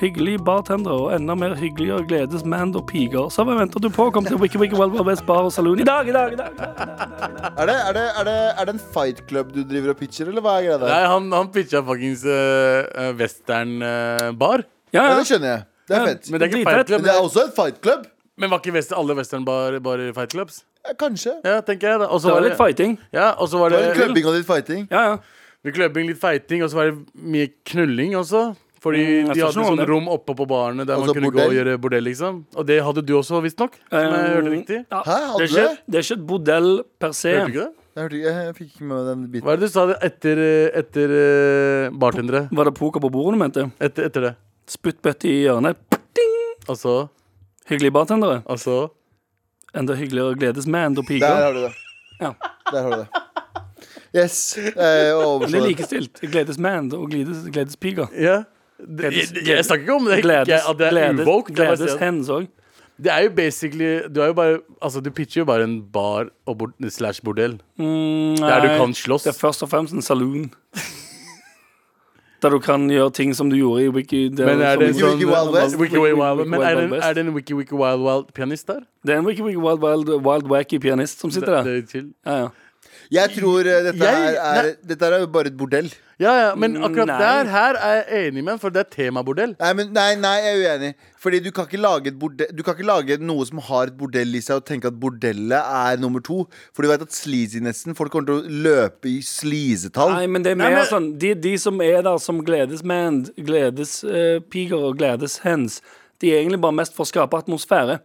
Speaker 2: Hyggelige bartendere og enda mer hyggeligere gledesmand og piger. Så hva venter du på? Kom til Wiki Wiki Wild Wild West Bar og Saloon i dag, i dag, i dag! i dag.
Speaker 1: Er det, er, det, er, det, er det en fight club du driver og pitcher, eller hva er greia
Speaker 3: Nei,
Speaker 1: der?
Speaker 3: han, han pitcha fuckings uh, westernbar.
Speaker 2: Ja,
Speaker 1: Ja,
Speaker 2: ja.
Speaker 1: det skjønner jeg. Det er fett.
Speaker 3: men det er ikke
Speaker 2: Dritfett.
Speaker 3: fight club.
Speaker 1: Men det er også en fight club.
Speaker 3: Men var ikke west, alle westernbar bare fight clubs?
Speaker 1: Ja, kanskje.
Speaker 3: Ja, tenker jeg. da. Og så
Speaker 2: Det
Speaker 3: var
Speaker 2: var litt
Speaker 3: det-
Speaker 2: fighting.
Speaker 3: Ja, og så var
Speaker 1: Det var
Speaker 3: det
Speaker 1: klubbing og litt fighting.
Speaker 2: Ja, ja.
Speaker 3: Vi kløbbing, litt feiting, og så var det mye knulling også. Fordi
Speaker 2: Mm, jeg
Speaker 3: de
Speaker 2: så
Speaker 3: hadde
Speaker 2: ikke noe om
Speaker 3: sånn
Speaker 2: det.
Speaker 3: rom oppe på barene der
Speaker 1: Altså
Speaker 3: man kunne gå og
Speaker 1: bordell.
Speaker 3: gjøre bordell, liksom. Og
Speaker 2: Eh,
Speaker 3: det hadde du også, visstnok. Som jeg hørte riktig.
Speaker 2: Um, Ja.
Speaker 1: Hæ, hadde
Speaker 2: det, er ikke,
Speaker 1: det?
Speaker 2: det er ikke et bordell per se.
Speaker 3: Hørte du ikke det?
Speaker 1: Jeg, hørte, ikke- jeg fikk ikke med meg den biten.
Speaker 3: Hva er det du sa det? etter, etter eh, bartendere?
Speaker 2: Var det poker på bordet du mente?
Speaker 3: Etter, etter det.
Speaker 2: Spyttbøtte i hjørnet. Ding!
Speaker 3: Altså,
Speaker 2: Hyggelige bartendere.
Speaker 3: altså
Speaker 2: Enda hyggeligere å gledes med enn å pike.
Speaker 1: Der har du det.
Speaker 2: Ja.
Speaker 1: Der har du det. Yes. Jeg
Speaker 2: Men det
Speaker 1: overså
Speaker 2: er
Speaker 1: det.
Speaker 2: likestilt. Gledes med og gledes, gledes piker.
Speaker 3: Ja. Det, jeg,
Speaker 2: Gledes-
Speaker 3: jeg snakker ikke om det. Ikke,
Speaker 2: Gledes,
Speaker 3: at det er
Speaker 2: gledes,
Speaker 3: uvoke. Det, er bare å
Speaker 2: gledes
Speaker 3: si at-
Speaker 2: hens òg.
Speaker 3: det er jo basically Du er jo bare Altså, du pitcher jo bare en bar og bord, slash bordell. Der du kan
Speaker 2: Mm,
Speaker 3: slåss.
Speaker 2: Det er først og fremst en saloon. Der du kan gjøre ting som du gjorde i Wiki. der-
Speaker 3: Men er det en
Speaker 1: Wiki
Speaker 2: som-
Speaker 3: sånn
Speaker 1: Wiki Wild West?
Speaker 3: Wiki Wiki Wild West. Men er det,
Speaker 2: Wild West.
Speaker 3: er det en Wiki Wiki Wild Wild pianist der?
Speaker 2: Det er en Wiki Wiki Wild, Wild, Wild Wacky pianist som sitter der.
Speaker 3: Det er chill.
Speaker 2: Ja, ja.
Speaker 1: Jeg tror eh, dette,
Speaker 3: Jeg-
Speaker 1: er, er, dette er jo bare et bordell.
Speaker 3: Ja, ja, men akkurat
Speaker 2: Mm, Nei.
Speaker 3: der her er jeg enig med ham, for det er temabordell.
Speaker 1: Nei, men, nei, nei, jeg er uenig. Fordi du kan, ikke lage et borde- du kan ikke lage noe som har et bordell i seg, og tenke at bordellet er nummer to. For du vet at sleazinessen Folk kommer til å løpe i sleazetall.
Speaker 2: Nei, men det er mer
Speaker 3: Nei, men-
Speaker 2: sånn de, de som er der som gledes mand, gledes eh, piger og gledes hens, de er egentlig bare mest for å skape atmosfære.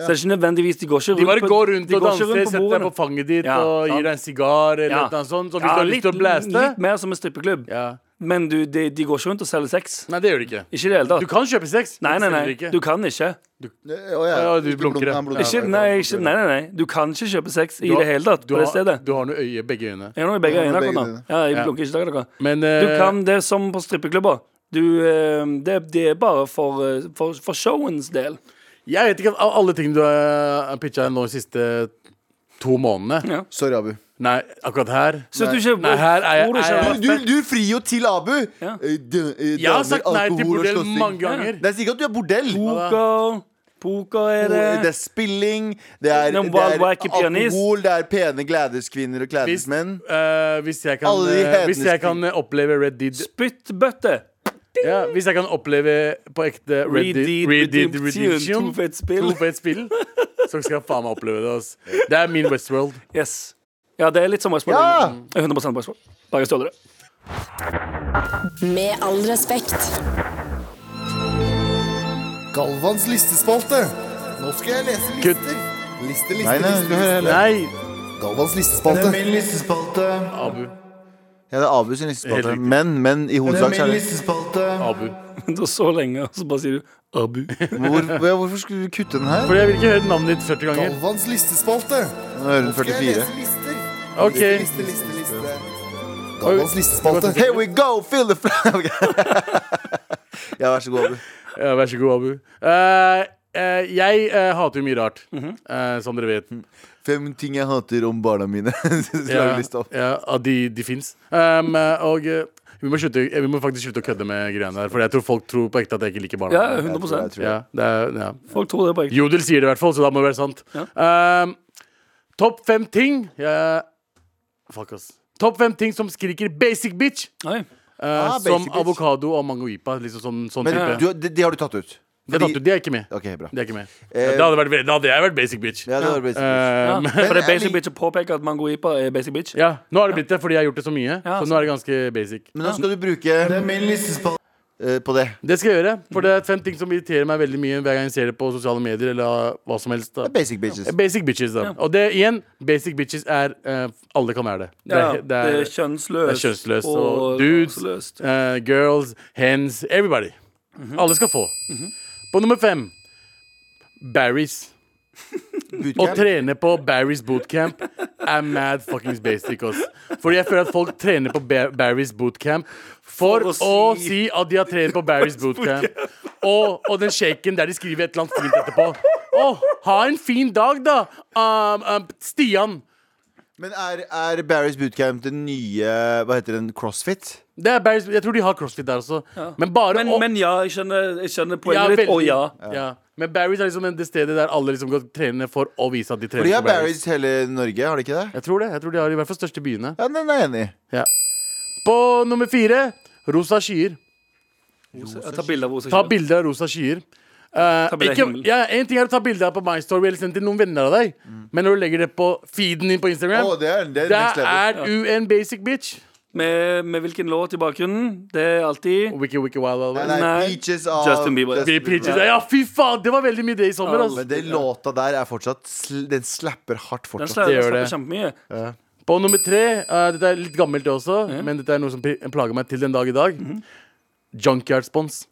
Speaker 2: Så det er ikke nødvendigvis De går ikke rundt
Speaker 3: De bare
Speaker 2: på-
Speaker 3: går rundt
Speaker 2: de
Speaker 3: og
Speaker 2: går ikke
Speaker 3: danser,
Speaker 2: rundt på
Speaker 3: setter deg
Speaker 2: bordene.
Speaker 3: på fanget ditt
Speaker 2: Ja,
Speaker 3: og
Speaker 2: sant.
Speaker 3: gir deg en sigar eller
Speaker 2: Ja.
Speaker 3: noe sånt. Så hvis
Speaker 2: Ja,
Speaker 3: du har lyst til å blaste
Speaker 2: Litt mer som en strippeklubb.
Speaker 3: ja.
Speaker 2: Men du, de, de går ikke rundt og selger sex.
Speaker 3: Nei, det gjør du ikke.
Speaker 2: Ikke i det hele
Speaker 3: Du
Speaker 2: tatt.
Speaker 3: kan kjøpe sex.
Speaker 2: Nei, nei,
Speaker 3: men
Speaker 2: nei.
Speaker 3: selger
Speaker 2: Du
Speaker 3: ikke.
Speaker 2: kan ikke.
Speaker 1: Å, ja.
Speaker 3: Ja, du
Speaker 1: Ikke
Speaker 3: blunker,
Speaker 1: blunk, han
Speaker 3: ja.
Speaker 1: blunker.
Speaker 2: ikke nei, ikke nei, nei, nei. Du kan ikke kjøpe sex i det hele tatt
Speaker 3: Du
Speaker 2: på det
Speaker 3: har,
Speaker 2: stedet.
Speaker 3: du har noe øye, begge øyne.
Speaker 2: Jeg har noe i begge
Speaker 1: Ja,
Speaker 2: øynene
Speaker 1: begge
Speaker 2: akkurat nå.
Speaker 1: øynene.
Speaker 2: Ja, jeg
Speaker 3: Ja.
Speaker 2: blunker ikke til dere.
Speaker 3: Men eh,
Speaker 2: Du kan det er som på strippeklubber. Du, eh, det, det er bare for, eh, for, for showens del.
Speaker 3: jeg vet ikke at av alle ting du har pitcha nå de siste to månedene
Speaker 2: Ja.
Speaker 1: Sorry, Abu.
Speaker 3: Nei, akkurat her
Speaker 2: Så du ikke,
Speaker 3: Nei, her er jeg-
Speaker 2: tror du ikke
Speaker 3: er jeg-
Speaker 2: at-
Speaker 1: Du, du frir jo til Abu!
Speaker 2: Ja.
Speaker 1: Eh, dø- eh,
Speaker 3: Jeg
Speaker 1: damer,
Speaker 3: har sagt nei til
Speaker 1: alkohol og
Speaker 3: bordell
Speaker 1: slåssing.
Speaker 3: mange ganger.
Speaker 1: Det er sikkert at du er bordell.
Speaker 2: Poker. Poker er
Speaker 1: Det
Speaker 2: det.
Speaker 1: er spilling, det er, det
Speaker 2: Noen
Speaker 1: er
Speaker 2: wild wacky pianist.
Speaker 1: alkohol, det er pene gledeskvinner og
Speaker 3: Hvis,
Speaker 1: gledesmenn.
Speaker 3: eh, hvis, jeg kan,
Speaker 1: Alle de
Speaker 3: eh, hvis
Speaker 1: hedenske-
Speaker 3: jeg kan eh, oppleve Red Dead
Speaker 2: Spyttbøtte.
Speaker 3: ja, Hvis jeg kan oppleve på ekte Red Dead Red Dead Redemption
Speaker 2: To fett spill.
Speaker 3: To fett spill Så skal jeg faen meg oppleve det ass. Det er min Westworld
Speaker 2: Yes. Ja, det er litt som Westworld.
Speaker 1: Ja!
Speaker 2: egentlig. 100 Westworld. Bare jeg stjåler det.
Speaker 6: Med all respekt.
Speaker 8: Galvans listespalte. Nå skal jeg lese
Speaker 3: Kutt.
Speaker 8: lister. Liste, liste,
Speaker 1: Nei, nei, du
Speaker 8: liste,
Speaker 1: hører
Speaker 8: liste.
Speaker 1: heller.
Speaker 3: Nei,
Speaker 8: Galvans listespalte.
Speaker 1: listespalte.
Speaker 3: Abu,
Speaker 1: Ja, det er Abu sin listespalte.
Speaker 3: Helt riktig.
Speaker 1: Men, men i hovedsak så er det
Speaker 8: listespalte.
Speaker 3: Abu
Speaker 2: Det var så lenge, og så bare sier du Abu.
Speaker 1: Hvor, ja, Hvorfor skulle du kutte den her?
Speaker 3: Fordi jeg vil ikke høre navnet ditt 40 ganger
Speaker 8: Galvans listespalte.
Speaker 1: Nå hører den
Speaker 8: Nå skal jeg
Speaker 1: 44.
Speaker 8: lese lister.
Speaker 3: Ok
Speaker 8: Liste, liste, liste. Galvans listespalte.
Speaker 1: Here we go, feel the flag Ok. Ja, vær så god, Abu.
Speaker 3: Ja, vær så god, Abu. Eh, eh, jeg eh, hater jo mye rart, eh, som dere vet.
Speaker 1: Fem ting jeg hater om barna mine. Lag
Speaker 3: Ja,
Speaker 1: lista opp.
Speaker 3: ja, ja, de de fins. Um, eh, og eh, vi, må slutte, eh, vi må faktisk slutte å kødde med greiene her, for jeg tror folk tror på ekte at jeg ikke liker barna.
Speaker 2: Ja,
Speaker 3: mine.
Speaker 2: 100
Speaker 1: Jeg tror det.
Speaker 3: ja, det er, ja.
Speaker 2: Folk tror det på ekte.
Speaker 3: Jodel sier det i hvert fall, så da må det være sant. Um, Topp fem ting jeg- Fuck, ass. Topp fem ting som skriker 'basic bitch',
Speaker 2: Nei.
Speaker 3: eh,
Speaker 1: Ah,
Speaker 3: som
Speaker 1: basic bitch.
Speaker 3: avokado og mangoipa. Liksom sånn, sånn
Speaker 1: Men
Speaker 3: type.
Speaker 1: du, de, de har du tatt ut.
Speaker 3: det, tatt ut, de er ikke med.
Speaker 1: Ok, bra.
Speaker 3: De er ikke med.
Speaker 1: Eh,
Speaker 3: det hadde vært, ve- da hadde jeg vært basic bitch.
Speaker 1: Ja, Eh, det var basic bitch.
Speaker 3: Um,
Speaker 2: Ja. Ehm, For det er
Speaker 1: jeg
Speaker 2: basic
Speaker 1: lik-
Speaker 2: bitch å påpeke at mangoipa er basic bitch.
Speaker 3: Ja, nå har det blitt det fordi jeg har gjort det så mye.
Speaker 2: Ja,
Speaker 3: så nå er det ganske basic.
Speaker 1: Men nå skal du bruke eh, på det.
Speaker 3: Det skal jeg gjøre, for det er fem ting som irriterer meg veldig mye hver gang jeg ser det på sosiale medier eller hva som helst. Da.
Speaker 1: Basic bitches.
Speaker 3: Basic bitches, da. Og det igjen, basic bitches er eh, Alle kan være det. Det
Speaker 2: Ja,
Speaker 3: er, det er,
Speaker 2: kjønnsløst.
Speaker 3: det er kjønnsløst. Og,
Speaker 2: og
Speaker 3: dudes,
Speaker 2: raseløst.
Speaker 3: eh, girls, hens, everybody.
Speaker 2: Mhm.
Speaker 3: Alle skal få. På nummer fem Barry's. Å
Speaker 1: Bootcamp.
Speaker 3: trene på Barry's bootcamp er mad fuckings basic. Ass. Fordi jeg føler at folk trener på Ba- Barry's bootcamp for,
Speaker 2: For å
Speaker 3: å,
Speaker 2: si-
Speaker 3: si at de har trent på Barry's bootcamp. Og, og den shaken der de skriver et eller annet fint etterpå. Å, ha en fin dag, da! Um, um, Stian.
Speaker 1: Men er, er Barry's bootcamp den nye Hva heter den? Crossfit?
Speaker 3: Det er Barry's, jeg tror de har crossfit der også. Men bare
Speaker 2: Men,
Speaker 3: å-
Speaker 2: men ja, jeg skjønner, jeg skjønner poenget
Speaker 3: Ja,
Speaker 2: ditt. Å
Speaker 3: veldig.
Speaker 2: ja.
Speaker 3: Ja. Men Barry's er liksom det stedet der alle liksom går trene for å vise at de
Speaker 1: For de
Speaker 3: trener
Speaker 1: har
Speaker 3: på Barry's.
Speaker 1: Barry's hele Norge, har de ikke det?
Speaker 3: Jeg tror det. jeg tror de har i hvert fall største byene.
Speaker 1: Ja, den er jeg enig i.
Speaker 3: Ja. På nummer fire rosa skyer.
Speaker 2: Jeg tar bilde av rosa
Speaker 3: Ta
Speaker 2: kjønn.
Speaker 3: bilde av rosa skyer. Eh,
Speaker 2: Ta bilde av
Speaker 3: ikke,
Speaker 2: himmelen.
Speaker 3: ja, en ting er å ta bilde av på My Story eller sende til noen venner av deg, men når du legger det på feeden din på Instagram,
Speaker 1: Mm. Å, det er, det er
Speaker 3: da
Speaker 1: next level.
Speaker 3: er du en basic bitch.
Speaker 2: Med, med hvilken låt i bakgrunnen? Det er alltid
Speaker 3: Wiki, wiki, wild, wild, wild.
Speaker 1: Nei,
Speaker 2: Nei.
Speaker 1: Peaches av
Speaker 2: Justin Bieber.
Speaker 3: Blir preachet. Ja, fy faen! Det var veldig mye det i sommer.
Speaker 2: Ja,
Speaker 3: Altså.
Speaker 1: Men den låta der er fortsatt sl Den slapper hardt
Speaker 2: Den
Speaker 1: fortsatt.
Speaker 2: slår
Speaker 3: Det gjør
Speaker 2: slår
Speaker 3: det.
Speaker 2: kjempemye.
Speaker 3: På nummer tre eh, Dette er litt gammelt det også, men dette er noe som pri- plager meg til den dag i dag.
Speaker 2: Mhm.
Speaker 3: Junkyard-spons.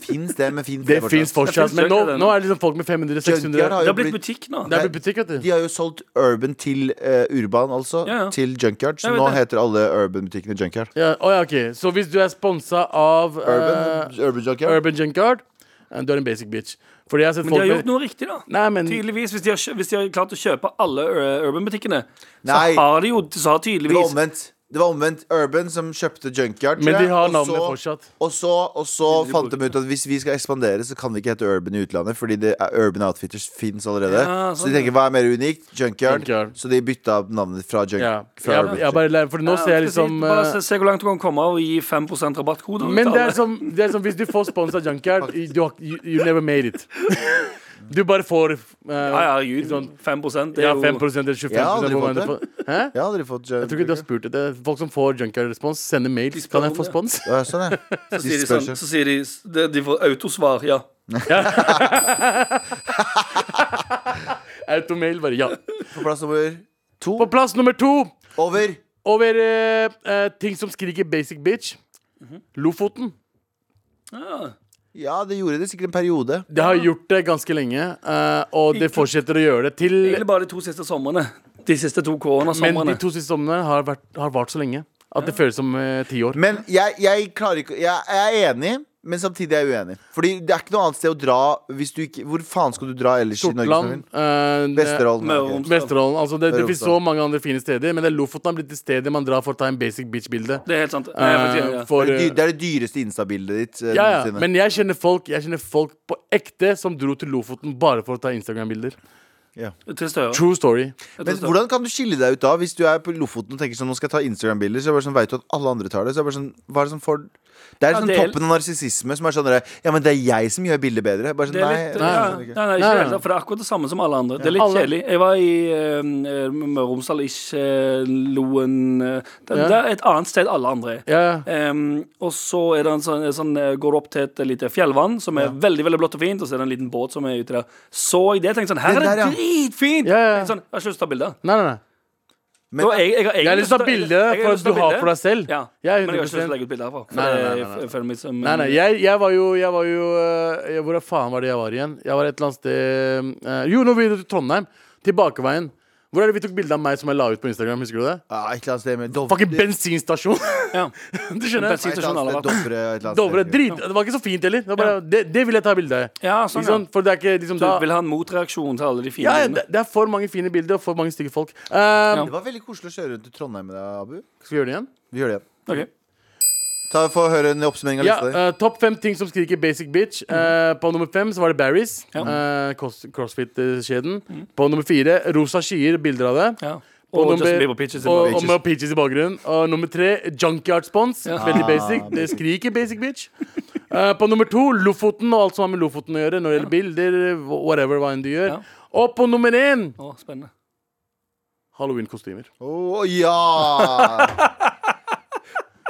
Speaker 1: Fins det, men fins
Speaker 3: Det fins fortsatt,
Speaker 2: Det
Speaker 3: men
Speaker 2: finnes
Speaker 3: nå,
Speaker 2: junkyard,
Speaker 3: nå er det liksom folk med 500-600
Speaker 1: har
Speaker 2: Det
Speaker 1: jo
Speaker 2: har blitt
Speaker 1: blitt
Speaker 2: butikk nå.
Speaker 3: Det er blitt butikk, vet du.
Speaker 1: De har jo solgt Urban til eh, Urban, altså.
Speaker 2: Ja, ja.
Speaker 1: Til Junkyard. Så
Speaker 2: Jeg vet
Speaker 1: nå
Speaker 2: det.
Speaker 1: heter alle Urban-butikkene Junkyard.
Speaker 3: Ja, å ja, ok Så hvis du er sponsa av
Speaker 1: Urban,
Speaker 3: eh,
Speaker 1: Urban Junkyard.
Speaker 3: Urban Junkyard, eh, du er en basic bitch. Fordi jeg har sett
Speaker 2: Men de
Speaker 3: folk
Speaker 2: har
Speaker 3: med
Speaker 2: gjort noe riktig, da.
Speaker 3: Nei, men
Speaker 2: Tydeligvis, hvis de, har, kjø- hvis de har klart å kjøpe alle Ur- Urban-butikkene, så
Speaker 1: Nei.
Speaker 2: har de jo så har
Speaker 1: Det var
Speaker 2: tydeligvis
Speaker 1: omvendt. Det var omvendt Urban som kjøpte Junkyard. tror
Speaker 3: Men de
Speaker 1: jeg,
Speaker 3: har
Speaker 1: og
Speaker 3: navnet
Speaker 1: så-
Speaker 3: fortsatt.
Speaker 1: Og så, og så fant de ut at hvis vi skal ekspandere, så kan vi ikke hete Urban i utlandet, fordi det er Urban Outfitters fins allerede.
Speaker 2: Ja,
Speaker 1: Så de
Speaker 2: sånn,
Speaker 1: tenker hva er mer unikt? Junkyard.
Speaker 3: Junkyard.
Speaker 1: Så de bytta navnet fra Junk.
Speaker 3: ja,
Speaker 1: Fra
Speaker 3: jeg,
Speaker 1: Urban.
Speaker 3: jeg bare, lærer- Fordi nå ser jeg
Speaker 2: Ja, skal
Speaker 3: liksom
Speaker 2: si- Bare
Speaker 3: eh,
Speaker 2: se, sånn se hvor langt du kan komme og gi 5 rabattkode.
Speaker 3: Men det er, sånn- som, det er som hvis du får spons av Junkyard, du har, you, you never made it. Du bare får eh,
Speaker 2: Ja, ja, herregud. 5 det er
Speaker 3: sånn- ja,
Speaker 2: jo
Speaker 3: 5 eller 25
Speaker 1: Jeg har aldri
Speaker 3: hvor
Speaker 1: fått
Speaker 3: mange du
Speaker 1: det.
Speaker 3: får- Hæ?
Speaker 1: Jeg har aldri fått Junk.
Speaker 3: Jeg tror ikke du har spurt det. Folk som får Junkyard-respons, sender mail.
Speaker 2: spør
Speaker 3: Kan jeg
Speaker 2: om
Speaker 3: få
Speaker 2: det.
Speaker 3: spons?
Speaker 1: ja, sånn, ja.
Speaker 2: Så sier de
Speaker 1: Spør
Speaker 2: sånn,
Speaker 1: seg.
Speaker 2: så sier de, de, de får autosvar, ja.
Speaker 3: Automail, bare ja.
Speaker 1: På plass nummer to.
Speaker 3: På plass nummer to
Speaker 1: Over.
Speaker 3: over eh, eh, ting som skriker basic bitch.
Speaker 2: Mhm.
Speaker 3: Lofoten.
Speaker 1: Ja, det gjorde det sikkert en periode.
Speaker 3: Det har gjort det ganske lenge, eh, og det fortsetter å gjøre det til
Speaker 2: Egentlig bare de to siste somrene. De siste to
Speaker 3: Men de
Speaker 2: koronasommerne.
Speaker 3: to siste somrene har, vært, har vart så lenge at det føles som eh, ti år.
Speaker 1: Men jeg, jeg klarer ikke Jeg, jeg er enig, men samtidig er jeg uenig. Fordi det er ikke noe annet sted å dra hvis du ikke Hvor faen skal du dra ellers i Norge?
Speaker 3: Sortland,
Speaker 1: Snorvin?
Speaker 3: eh,
Speaker 1: Vesterålen.
Speaker 2: Møre og
Speaker 1: ok.
Speaker 2: Romsdal.
Speaker 3: Vesterålen. Altså det, det
Speaker 1: Møre og
Speaker 3: finnes så
Speaker 1: Romsdal.
Speaker 3: mange andre fine steder, men det er Lofoten har blitt det stedet man drar for å ta en basic bitch-bilde.
Speaker 2: Det er helt sant. Nei, jeg
Speaker 3: Eh,
Speaker 2: får si, ja.
Speaker 3: for,
Speaker 1: Det er det
Speaker 3: eh,
Speaker 1: dy- det er det dyreste Insta-bildet ditt. eh,
Speaker 3: ja, ja.
Speaker 1: noensinne.
Speaker 3: Men jeg kjenner folk Jeg kjenner folk på ekte som dro til Lofoten bare for å ta Instagram-bilder.
Speaker 2: Til Støre.
Speaker 3: True story.
Speaker 1: Men hvordan kan du skille deg ut da hvis du er på Lofoten og tenker sånn Nå skal jeg ta Instagram-bilder, så er det bare sånn, vet du at alle andre tar det. Så er det bare sånn, hva er det som får Det er
Speaker 2: Ja,
Speaker 1: sånn
Speaker 2: det er-
Speaker 1: toppen av narsissisme som er sånn der, Ja, men det er jeg som gjør bildet bedre. Bare sånn,
Speaker 2: Det er
Speaker 1: nei,
Speaker 2: litt,
Speaker 1: jeg
Speaker 2: nei,
Speaker 1: skjønner
Speaker 2: ja, nei,
Speaker 1: ikke.
Speaker 2: nei, ikke
Speaker 3: Nei, nei.
Speaker 2: helt sant, for det er akkurat det samme som alle andre. Det er litt
Speaker 3: Alle-
Speaker 2: kjedelig. Jeg var i eh, Møre og Romsdal, ikke eh, Loen eh, det,
Speaker 3: Ja.
Speaker 2: det er et annet sted alle andre er.
Speaker 3: Ja, ja.
Speaker 2: Ehm, og så er det en sånn, en sånn, eh, går du opp til et lite fjellvann som er veldig veldig blått og fint, og så er det en liten båt som er ute der. Så jeg det og tenkte sånn Her
Speaker 1: Det
Speaker 2: er det
Speaker 1: der, ja.
Speaker 2: dritfint!
Speaker 3: Ja, ja.
Speaker 2: Tenkte Sånn, jeg har ikke lyst til å ta bilde.
Speaker 3: Nei, nei, nei.
Speaker 1: Men-
Speaker 2: Og jeg, jeg, har egentlig
Speaker 3: Jeg har lyst til å ta
Speaker 2: jeg-
Speaker 3: bilde
Speaker 2: jeg lyst
Speaker 3: for at
Speaker 2: til
Speaker 3: du
Speaker 2: å ta
Speaker 3: har
Speaker 2: bilde.
Speaker 3: for deg selv.
Speaker 2: Ja. Men jeg
Speaker 3: Jeg er
Speaker 2: har ikke lyst til å
Speaker 3: 100
Speaker 2: legge ut bilde herfra. for
Speaker 3: Nei, nei, nei,
Speaker 2: jeg-
Speaker 3: nei,
Speaker 2: Jeg føler meg som
Speaker 3: Nei, nei, jeg, jeg var jo, jeg var jo eh, Hvor faen var det jeg var igjen? Jeg var et eller annet sted eh, Jo, nå begynner vi til Trondheim. Tilbakeveien. Hvor er det vi tok bilde av meg som jeg la ut på Instagram? Husker du det?
Speaker 1: Ja, et eller annet sted med Dov-
Speaker 3: Fucking bensinstasjon!
Speaker 2: Ja.
Speaker 3: du skjønner?
Speaker 1: Et eller
Speaker 2: Bensinstasjon
Speaker 1: annet
Speaker 2: alle
Speaker 1: sted,
Speaker 2: vært.
Speaker 1: Dovre et eller annet
Speaker 3: Dovre.
Speaker 1: sted.
Speaker 3: Drit. Det var ikke så fint heller. Det, var bare, det, det vil jeg ta bilde av.
Speaker 2: Ja,
Speaker 3: Ikke
Speaker 2: sånn, ja.
Speaker 3: sant? For det er ikke liksom
Speaker 2: Du
Speaker 3: da
Speaker 2: vil ha en motreaksjon til alle de fine
Speaker 3: ja, ja,
Speaker 2: bildene.
Speaker 3: det, det er for mange fine bilder og for mange stygge folk. Eh,
Speaker 1: Det var veldig koselig å kjøre rundt i Trondheim med deg, Abu.
Speaker 3: Skal vi gjøre det igjen?
Speaker 1: Vi gjør det igjen.
Speaker 2: Ok.
Speaker 1: Ta, Få høre en oppsummering av
Speaker 3: Ja,
Speaker 1: lista di.
Speaker 3: eh, Topp fem ting som skriker basic bitch. Eh, på nummer fem så var det Barry's.
Speaker 2: Ja.
Speaker 3: eh, cross, Crossfit-kjeden. På nummer fire Rosa skyer, bilder av det.
Speaker 2: Ja.
Speaker 3: Og,
Speaker 2: Og
Speaker 3: nummer,
Speaker 2: Justin Bieber Pitches.
Speaker 3: og, og
Speaker 1: Peaches.
Speaker 3: med peaches i bakgrunnen. Og nummer tre Junkyard Spons.
Speaker 2: Ja. Ah,
Speaker 3: Veldig basic. Det skriker basic bitch. Eh, på nummer to Lofoten og alt som har med Lofoten å gjøre. Når det gjelder bilder, wh- whatever hva enn du gjør.
Speaker 2: Ja.
Speaker 3: Og på nummer én
Speaker 2: Å, spennende.
Speaker 3: Halloween-kostymer.
Speaker 1: Å ja!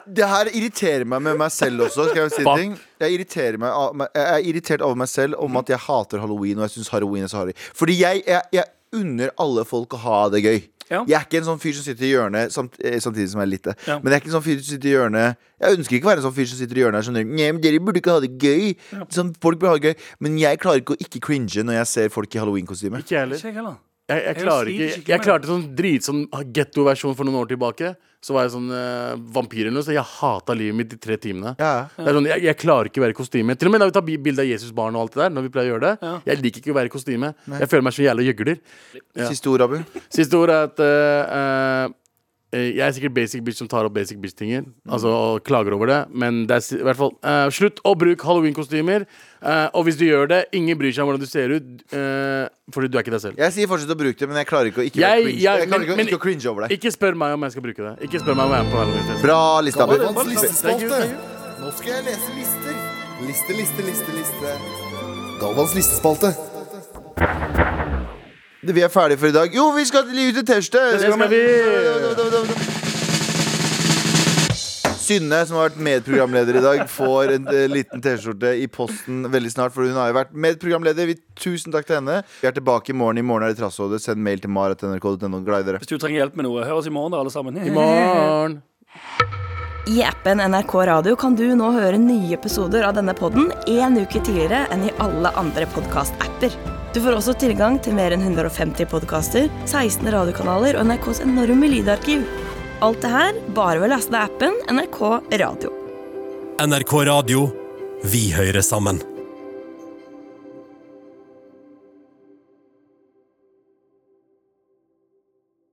Speaker 1: Det her irriterer meg med meg selv også. Skal jeg si en ting? Jeg, irriterer meg av, meg- jeg er irritert over meg selv om at jeg hater halloween. Og jeg synes halloween er så harry Fordi jeg, jeg, jeg unner alle folk å ha det gøy.
Speaker 2: Ja.
Speaker 1: Jeg er ikke en sånn fyr som sitter i hjørnet samt, eh, samtidig som jeg er lite.
Speaker 2: Ja.
Speaker 1: Men jeg er ikke en sånn fyr som sitter i hjørnet Jeg ønsker ikke å være en sånn fyr som sitter i hjørnet her sånn Nei, men dere burde ikke ha det gøy. Sånn, folk burde ha det gøy Men jeg klarer ikke å ikke cringe når jeg ser folk i halloween-kostyme.
Speaker 3: Ikke jeg heller.
Speaker 2: Ikke jeg heller.
Speaker 3: Jeg, jeg,
Speaker 2: Jeg
Speaker 3: klarer
Speaker 2: sliter
Speaker 3: ikke,
Speaker 2: skikkelig
Speaker 3: jeg
Speaker 2: med
Speaker 3: klarte sånn dritsånn gettoversjon for noen år tilbake. Så var jeg sånn eh, vampyr eller noe, så jeg hata livet mitt de tre timene.
Speaker 1: Ja.
Speaker 3: Det er sånn, jeg, jeg klarer ikke å være i kostyme. Til og med da vi tar bi- bilde av Jesusbarn og alt det der, når vi pleier å gjøre det. Jeg liker ikke å være i kostyme. Jeg føler meg som en jævla gjøgler. Ja.
Speaker 1: Siste ord, Abu.
Speaker 3: Siste ord er at eh, eh, jeg er sikkert basic bitch som tar opp basic bitch-tinger. Altså og klager over det. Men det er si- i hvert fall eh, slutt å bruke halloween-kostymer. eh, og hvis du gjør det, ingen bryr seg om hvordan du ser ut, eh, fordi du er ikke deg selv.
Speaker 1: Jeg sier fortsett å bruke det, men jeg klarer ikke å ikke,
Speaker 3: Jeg-
Speaker 1: være cringe.
Speaker 3: jeg-
Speaker 1: jeg klarer
Speaker 3: men-
Speaker 1: ikke, å
Speaker 3: men-
Speaker 1: ikke å cringe over det.
Speaker 3: Ikke spør meg om jeg skal bruke det. Ikke spør meg om jeg er på Halloweenfest.
Speaker 1: Bra liste, Abu.
Speaker 8: Galvans
Speaker 3: Thank you,
Speaker 8: listespalte.
Speaker 3: thank you.
Speaker 8: Nå skal jeg lese lister. Liste, liste, liste, liste. Galvans listespalte.
Speaker 1: Vi er ferdige for i dag. Jo, vi skal til- ut i T-skjorte!
Speaker 3: skal vi.
Speaker 1: Synne, som har vært medprogramleder i dag, får en eh, liten T-skjorte i posten veldig snart. For hun har jo vært medprogramleder. Vi, tusen takk til henne. Vi er tilbake i morgen. I morgen er det Trasshodet. Send mail til marat.nrk.no. Glad i dere.
Speaker 2: Hvis du trenger hjelp med noe, hør oss i morgen, da, alle sammen.
Speaker 3: I morgen.
Speaker 9: I appen NRK Radio kan du nå høre nye episoder av denne podden en uke tidligere enn i alle andre podcast-apper. Du får også tilgang til mer enn 150 podcaster, 16 radiokanaler og NRKs enorme lydarkiv. Alt det her bare ved å laste ned appen NRK Radio.
Speaker 10: NRK Radio. Vi hører sammen.